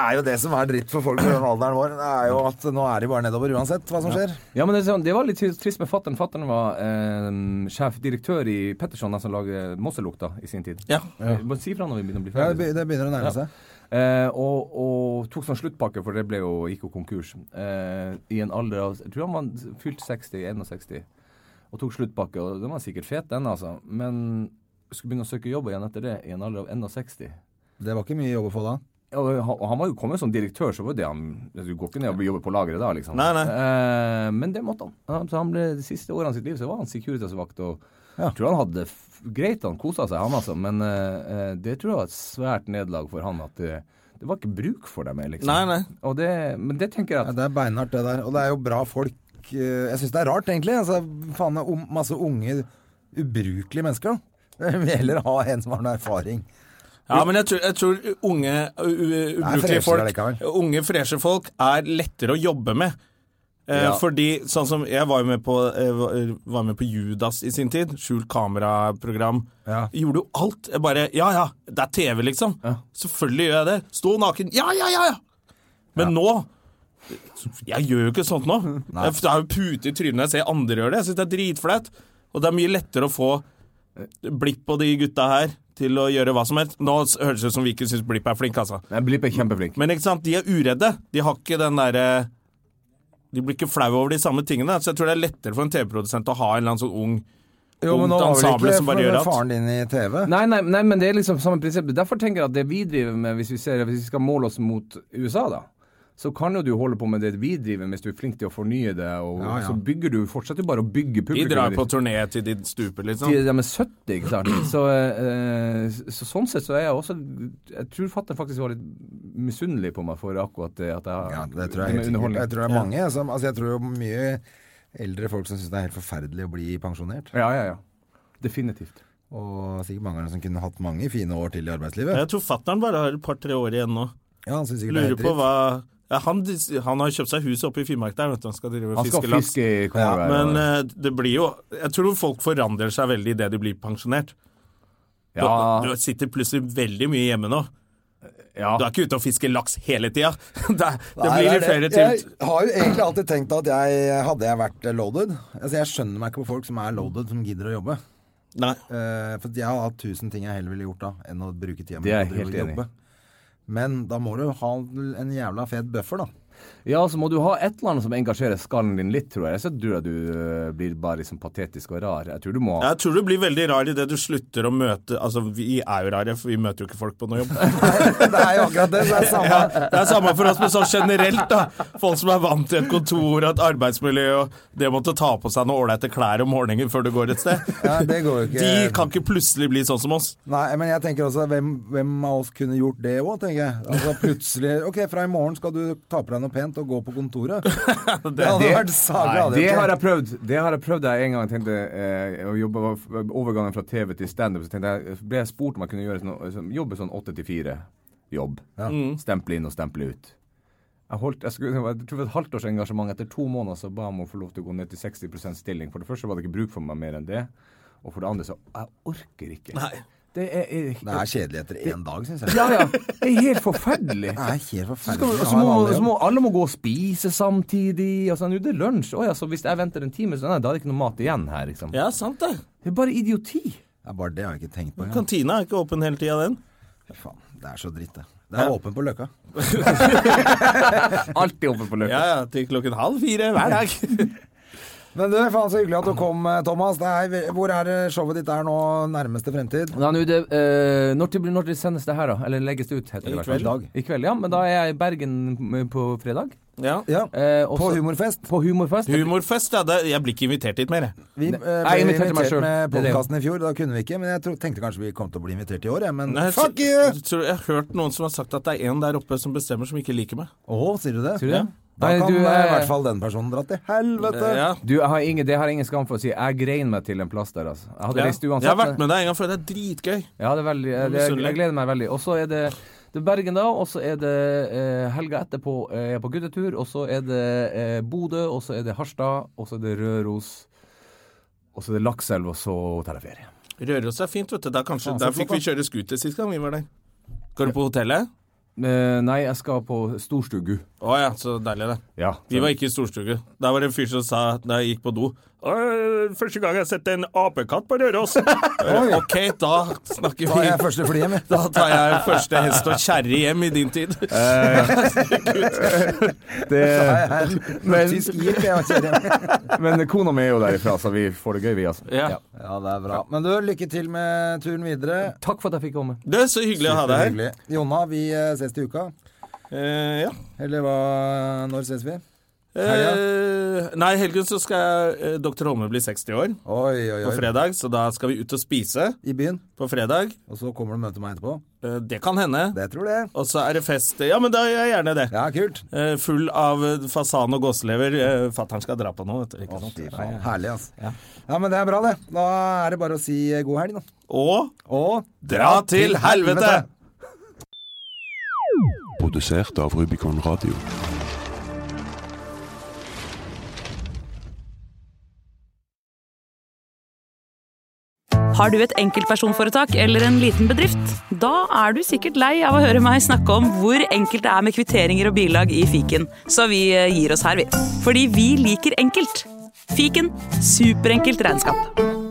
Speaker 1: er jo det som er dritt for folk i den alderen vår. Det er jo at Nå er de bare nedover uansett hva som skjer.
Speaker 3: Ja, men det, er sånn- det var litt trist med fattern. Fattern var eh, sjefdirektør i Petterson, den som lager Mosselukta i sin tid.
Speaker 2: Ja.
Speaker 3: Du må si fra når vi begynner å bli
Speaker 1: Ja,
Speaker 3: ferdig.
Speaker 1: det be- det begynner å nærme
Speaker 3: Ja.
Speaker 1: seg.
Speaker 3: Eh, og, og tok sånn sluttpakke, for det ble jo, gikk jo konkurs. Eh, I en alder av Jeg tror han var fylt 60, 61. Og tok sluttpakke. Og den var sikkert fet, den, altså. Men skulle begynne å søke jobb igjen etter det, i en alder av 61.
Speaker 1: Det var ikke mye jobb å få da.
Speaker 3: Og han, og han var jo kommet som direktør, så var det han Du går ikke ned og jobber på lageret da, liksom.
Speaker 2: Nei, nei.
Speaker 3: Eh, men det måtte han. han. Så han ble, de siste årene av sitt liv så var han Securitas-vakt og Jeg tror han hadde det f greit, han kosa seg, han altså. Men eh, eh, det tror jeg var et svært nederlag for han. At det, det var ikke bruk for dem mer, liksom.
Speaker 2: Nei, nei.
Speaker 3: Og det, men det tenker jeg
Speaker 1: Ja,
Speaker 3: at
Speaker 1: det er beinhardt, det der. Og det er jo bra folk. eh, Jeg syns det er rart, egentlig. Altså, faen, det er om- masse unge, ubrukelige mennesker. da. (laughs) Jeg vil heller ha en som har noe erfaring.
Speaker 2: Ja, men jeg tror, jeg tror unge, u- u-
Speaker 1: freshere
Speaker 2: ubrukelige folk,
Speaker 1: allikevel.
Speaker 2: unge, freshe folk er lettere å jobbe med. Eh,
Speaker 1: Ja.
Speaker 2: Fordi, sånn som jeg var jo med på, eh, var- var med på Judas i sin tid, skjult kameraprogram.
Speaker 1: Ja.
Speaker 2: Gjorde jo alt. Jeg bare Ja ja, det er TV, liksom. Selvfølgelig gjør jeg det. Stå naken. Ja ja ja! ja. Men nå Jeg gjør jo ikke sånt nå. Jeg, det er jo pute i trynet når jeg ser andre gjøre det. Jeg syns det er dritflaut. Og det er mye lettere å få Blipp og de gutta her til å gjøre hva som helst. Nå s- høres det ut som vi ikke syns Blipp er flink, altså.
Speaker 3: Nei, Blipp er kjempeflink.
Speaker 2: Men ikke sant, de er uredde. De har ikke den derre De blir ikke flau over de samme tingene. Så jeg tror det er lettere for en TV-produsent å ha en eller annen sånn ung
Speaker 1: Jo, men nå
Speaker 2: Ungt
Speaker 1: var vel
Speaker 2: ensemble
Speaker 1: ikke
Speaker 2: som bare gjør alt.
Speaker 1: faren din i TV?
Speaker 3: Nei, nei, nei, men det er liksom samme prinsipp. Derfor tenker jeg at det vi driver med, hvis vi, ser, hvis vi skal måle oss mot USA, da, så kan jo du holde på med det vi driver med hvis du er flink til å fornye det, og
Speaker 1: Ja, ja.
Speaker 3: så bygger du fortsetter jo bare å bygge
Speaker 2: De
Speaker 3: publikum.
Speaker 2: drar
Speaker 3: Liksom.
Speaker 2: på turné til de stuper,
Speaker 3: de,
Speaker 2: liksom.
Speaker 3: de er 70, ikke sant. Så, eh, så sånn sett så er jeg også Jeg tror fatter'n faktisk var litt misunnelig på meg for akkurat det at jeg
Speaker 1: Ja, det tror jeg helt
Speaker 3: med
Speaker 1: sikkert.
Speaker 3: underholdning.
Speaker 1: Jeg tror det er mange som Altså, jeg tror jo mye eldre folk som syns det er helt forferdelig å bli pensjonert.
Speaker 3: Ja, ja, ja. Definitivt.
Speaker 1: Og sikkert mange av dem som kunne hatt mange fine år til i arbeidslivet.
Speaker 2: Jeg tror fatter'n bare har et par-tre år igjen nå.
Speaker 1: Ja, han syns sikkert det er helt
Speaker 2: Lurer på
Speaker 1: dritt.
Speaker 2: hva ja, han, han har kjøpt seg hus oppe i Finnmark der, vet du. Han skal drive og
Speaker 3: Han skal
Speaker 2: fiske laks.
Speaker 3: fiske i Kongeberg.
Speaker 2: Men
Speaker 3: og-
Speaker 2: eh, det blir jo Jeg tror folk forandrer seg veldig idet de blir pensjonert. Du,
Speaker 3: ja,
Speaker 2: du sitter plutselig veldig mye hjemme nå.
Speaker 3: ja.
Speaker 2: Du er ikke ute og fisker laks hele tida. (laughs) Det, det
Speaker 1: Nei,
Speaker 2: blir litt
Speaker 1: det er
Speaker 2: flere
Speaker 1: det.
Speaker 2: til.
Speaker 1: Jeg har jo egentlig alltid tenkt at jeg hadde jeg vært loaded Altså, jeg skjønner meg ikke på folk som er loaded, som gidder å jobbe.
Speaker 2: Nei.
Speaker 1: Eh, for jeg har hatt tusen ting jeg heller ville gjort da, enn å bruke tida
Speaker 3: Det er
Speaker 1: på å drive
Speaker 3: jeg helt
Speaker 1: og
Speaker 3: enig i.
Speaker 1: Men da må du ha en jævla fet bøffer, da. (laughs)
Speaker 3: Ja, så må du ha et eller annet som engasjerer skallen din litt, tror jeg. Så tror jeg du eh, blir bare liksom patetisk og rar. Jeg tror du må
Speaker 2: Jeg tror du blir veldig rar idet du slutter å møte Altså, vi er jo rare, for vi møter jo ikke folk på noe
Speaker 1: (laughs)
Speaker 2: jobb.
Speaker 1: Det er jo akkurat det. så Det er samme.
Speaker 2: Ja, det er samme for oss, men sånn generelt, da. Folk som er vant til et kontor og et arbeidsmiljø, og det å måtte ta på seg noen ålreite klær om morgenen før du går et sted.
Speaker 1: Ja, det går jo ikke.
Speaker 2: De kan ikke plutselig bli sånn som oss.
Speaker 1: Nei, men jeg tenker også hvem, hvem av oss kunne gjort det òg, tenker jeg. Altså plutselig Ok, fra i morgen skal du ta på deg noe pent og gå på
Speaker 3: (laughs)
Speaker 1: kontoret. Det hadde
Speaker 3: det-
Speaker 1: vært saga.
Speaker 3: Nei,
Speaker 1: hadde
Speaker 3: det
Speaker 1: ikke?
Speaker 3: har jeg prøvd. Det har jeg prøvd jeg en gang jeg tenkte eh, å jobbe overgangen fra TV til standup. Så tenkte jeg, ble jeg spurt om jeg kunne gjøre noe, som- jobbe sånn åtte til fire-jobb.
Speaker 1: Mm.
Speaker 3: Stemple inn og stemple ut. Jeg, holdt, jeg, skulle, jeg tror det var et halvt års engasjement. Etter to måneder så ba jeg om å få lov til å gå ned til 60 stilling. For det første var det ikke bruk for meg mer enn det. Og for det andre så Jeg orker ikke. Det er, er,
Speaker 1: Det er kjedelig etter én dag, syns jeg.
Speaker 3: ja, ja. Det er helt forferdelig.
Speaker 1: Det er helt
Speaker 3: Så, skal,
Speaker 1: forferdelig. å
Speaker 3: så,
Speaker 1: ha en
Speaker 3: må,
Speaker 1: vanlig
Speaker 3: så
Speaker 1: jobb.
Speaker 3: må alle må gå og spise samtidig. Og sånn, jo, det er lunsj. Å ja, så hvis jeg venter en time, så nei, da er det ikke noe mat igjen her, liksom.
Speaker 2: Ja, sant det.
Speaker 3: Det er bare idioti.
Speaker 1: Ja, bare det har jeg ikke tenkt på engang.
Speaker 2: Kantina er ikke åpen hele tida, den.
Speaker 1: Fy Faen, det er så dritt, det. Det er åpent på Løkka.
Speaker 3: Alltid oppe på løpet.
Speaker 2: Ja, ja, til klokken halv fire hver dag.
Speaker 1: Men du, faen så hyggelig at du kom, eh, Thomas. Det er, hvor er det showet ditt er nå nærmeste fremtid?
Speaker 3: Ja, nå, det, eh, når, til, når til sendes det her, da? Eller legges det ut, heter det.
Speaker 2: I
Speaker 3: i hvert fall.
Speaker 1: kveld.
Speaker 3: I kveld, ja. Men da er jeg i Bergen m- på fredag.
Speaker 2: (laughs) Ja.
Speaker 1: Ja,
Speaker 3: Eh,
Speaker 1: På
Speaker 3: også-
Speaker 1: Humorfest.
Speaker 3: På humorfest.
Speaker 2: Humorfest, ja. Det, jeg blir ikke invitert dit mer, jeg.
Speaker 1: Vi eh, ble
Speaker 3: jeg inviterte
Speaker 1: invitert
Speaker 3: meg selv.
Speaker 1: med
Speaker 3: Det er det.
Speaker 1: podkasten i fjor, da kunne vi ikke. Men jeg tro, tenkte kanskje vi kom til å bli invitert i år, jeg. Men
Speaker 2: Nei, jeg
Speaker 1: fuck
Speaker 2: tror-
Speaker 1: you!
Speaker 2: Jeg, tror jeg har hørt noen som har sagt at det er en der oppe som bestemmer, som ikke liker meg.
Speaker 1: Å, sier du det?
Speaker 3: Sier du det?
Speaker 1: Da
Speaker 3: Nei,
Speaker 1: kan
Speaker 3: du,
Speaker 1: eh,
Speaker 3: eh,
Speaker 1: i hvert fall den personen dra til helvete.
Speaker 2: Ja.
Speaker 3: Du, jeg har ingen, det har jeg ingen skam for å si. Jeg grein meg til en plass der, altså. Jeg hadde
Speaker 2: Ja.
Speaker 3: reist uansett.
Speaker 2: Jeg har vært med deg en gang før. Det er dritgøy.
Speaker 3: Ja, det er veldig, jeg, jeg, jeg gleder meg veldig. Og så er det, det er Bergen, da. Og så er det eh, helga etterpå eh, jeg er på guttetur. Og så er det eh, Bodø, og så er det Harstad, og så er det Røros. Og så er det Lakselv, og så tar jeg ferie.
Speaker 2: Røros er fint, vet du. Der, kanskje,
Speaker 1: Faen, så
Speaker 2: der fikk vi
Speaker 1: flott,
Speaker 2: kjøre scooter sist gang vi var der. Går du på hotellet?
Speaker 3: Eh, nei, jeg skal på Storstugu.
Speaker 2: Å ja, så deilig, det.
Speaker 3: Ja.
Speaker 2: Vi var ikke i storstugu. Der var det en fyr som sa da jeg gikk på do «Åh, Første gang jeg har sett en apekatt på
Speaker 1: (laughs)
Speaker 2: Røros. Eh, ok, da snakker
Speaker 1: Da er jeg
Speaker 2: vi.
Speaker 1: første flyet mitt.
Speaker 2: (laughs) Da tar jeg første hest og kjerre hjem i din tid.
Speaker 1: Eh,
Speaker 3: (laughs) men,
Speaker 1: Tysk jeep, jeg var kjære.
Speaker 3: men kona mi er jo derifra, så vi får det gøy, vi, altså.
Speaker 2: Ja.
Speaker 1: Ja, det er bra. Men du, lykke til med turen videre.
Speaker 3: Takk for at jeg fikk komme.
Speaker 2: Det er så hyggelig å ha deg her.
Speaker 1: Hyggelig. Jonna, vi eh, ses til uka.
Speaker 2: Eh, ja.
Speaker 1: Eller hva Når ses vi?
Speaker 2: Eh, nei, i helgen så skal eh, Dr. Holme bli 60 år
Speaker 1: Oi, oi,
Speaker 2: på
Speaker 1: oi.
Speaker 2: fredag, så da skal vi ut og spise
Speaker 1: I byen.
Speaker 2: på fredag.
Speaker 1: Og så kommer du og møter meg etterpå.
Speaker 2: Eh, det kan hende.
Speaker 1: Det tror jeg.
Speaker 2: Og så er det fest. Ja, men da gjør jeg gjerne det.
Speaker 1: Ja, kult.
Speaker 2: Eh, full av eh, fasan og gåselever. Eh, Fattern skal dra på noe, vet du. Ikke
Speaker 1: Å,
Speaker 2: sant?
Speaker 1: fy faen. Herlig, altså. Ja. men det er bra, det. Da er det bare å si eh, god helg, da.
Speaker 2: Og
Speaker 1: Og
Speaker 2: dra til helvete!
Speaker 4: Produsert av Rubicon Radio.
Speaker 5: Har du et enkeltpersonforetak eller en liten bedrift? Da er du sikkert lei av å høre meg snakke om hvor enkelt det er med kvitteringer og bilag i fiken, så vi eh, gir oss her, vi. Fordi vi liker enkelt. Fiken superenkelt regnskap.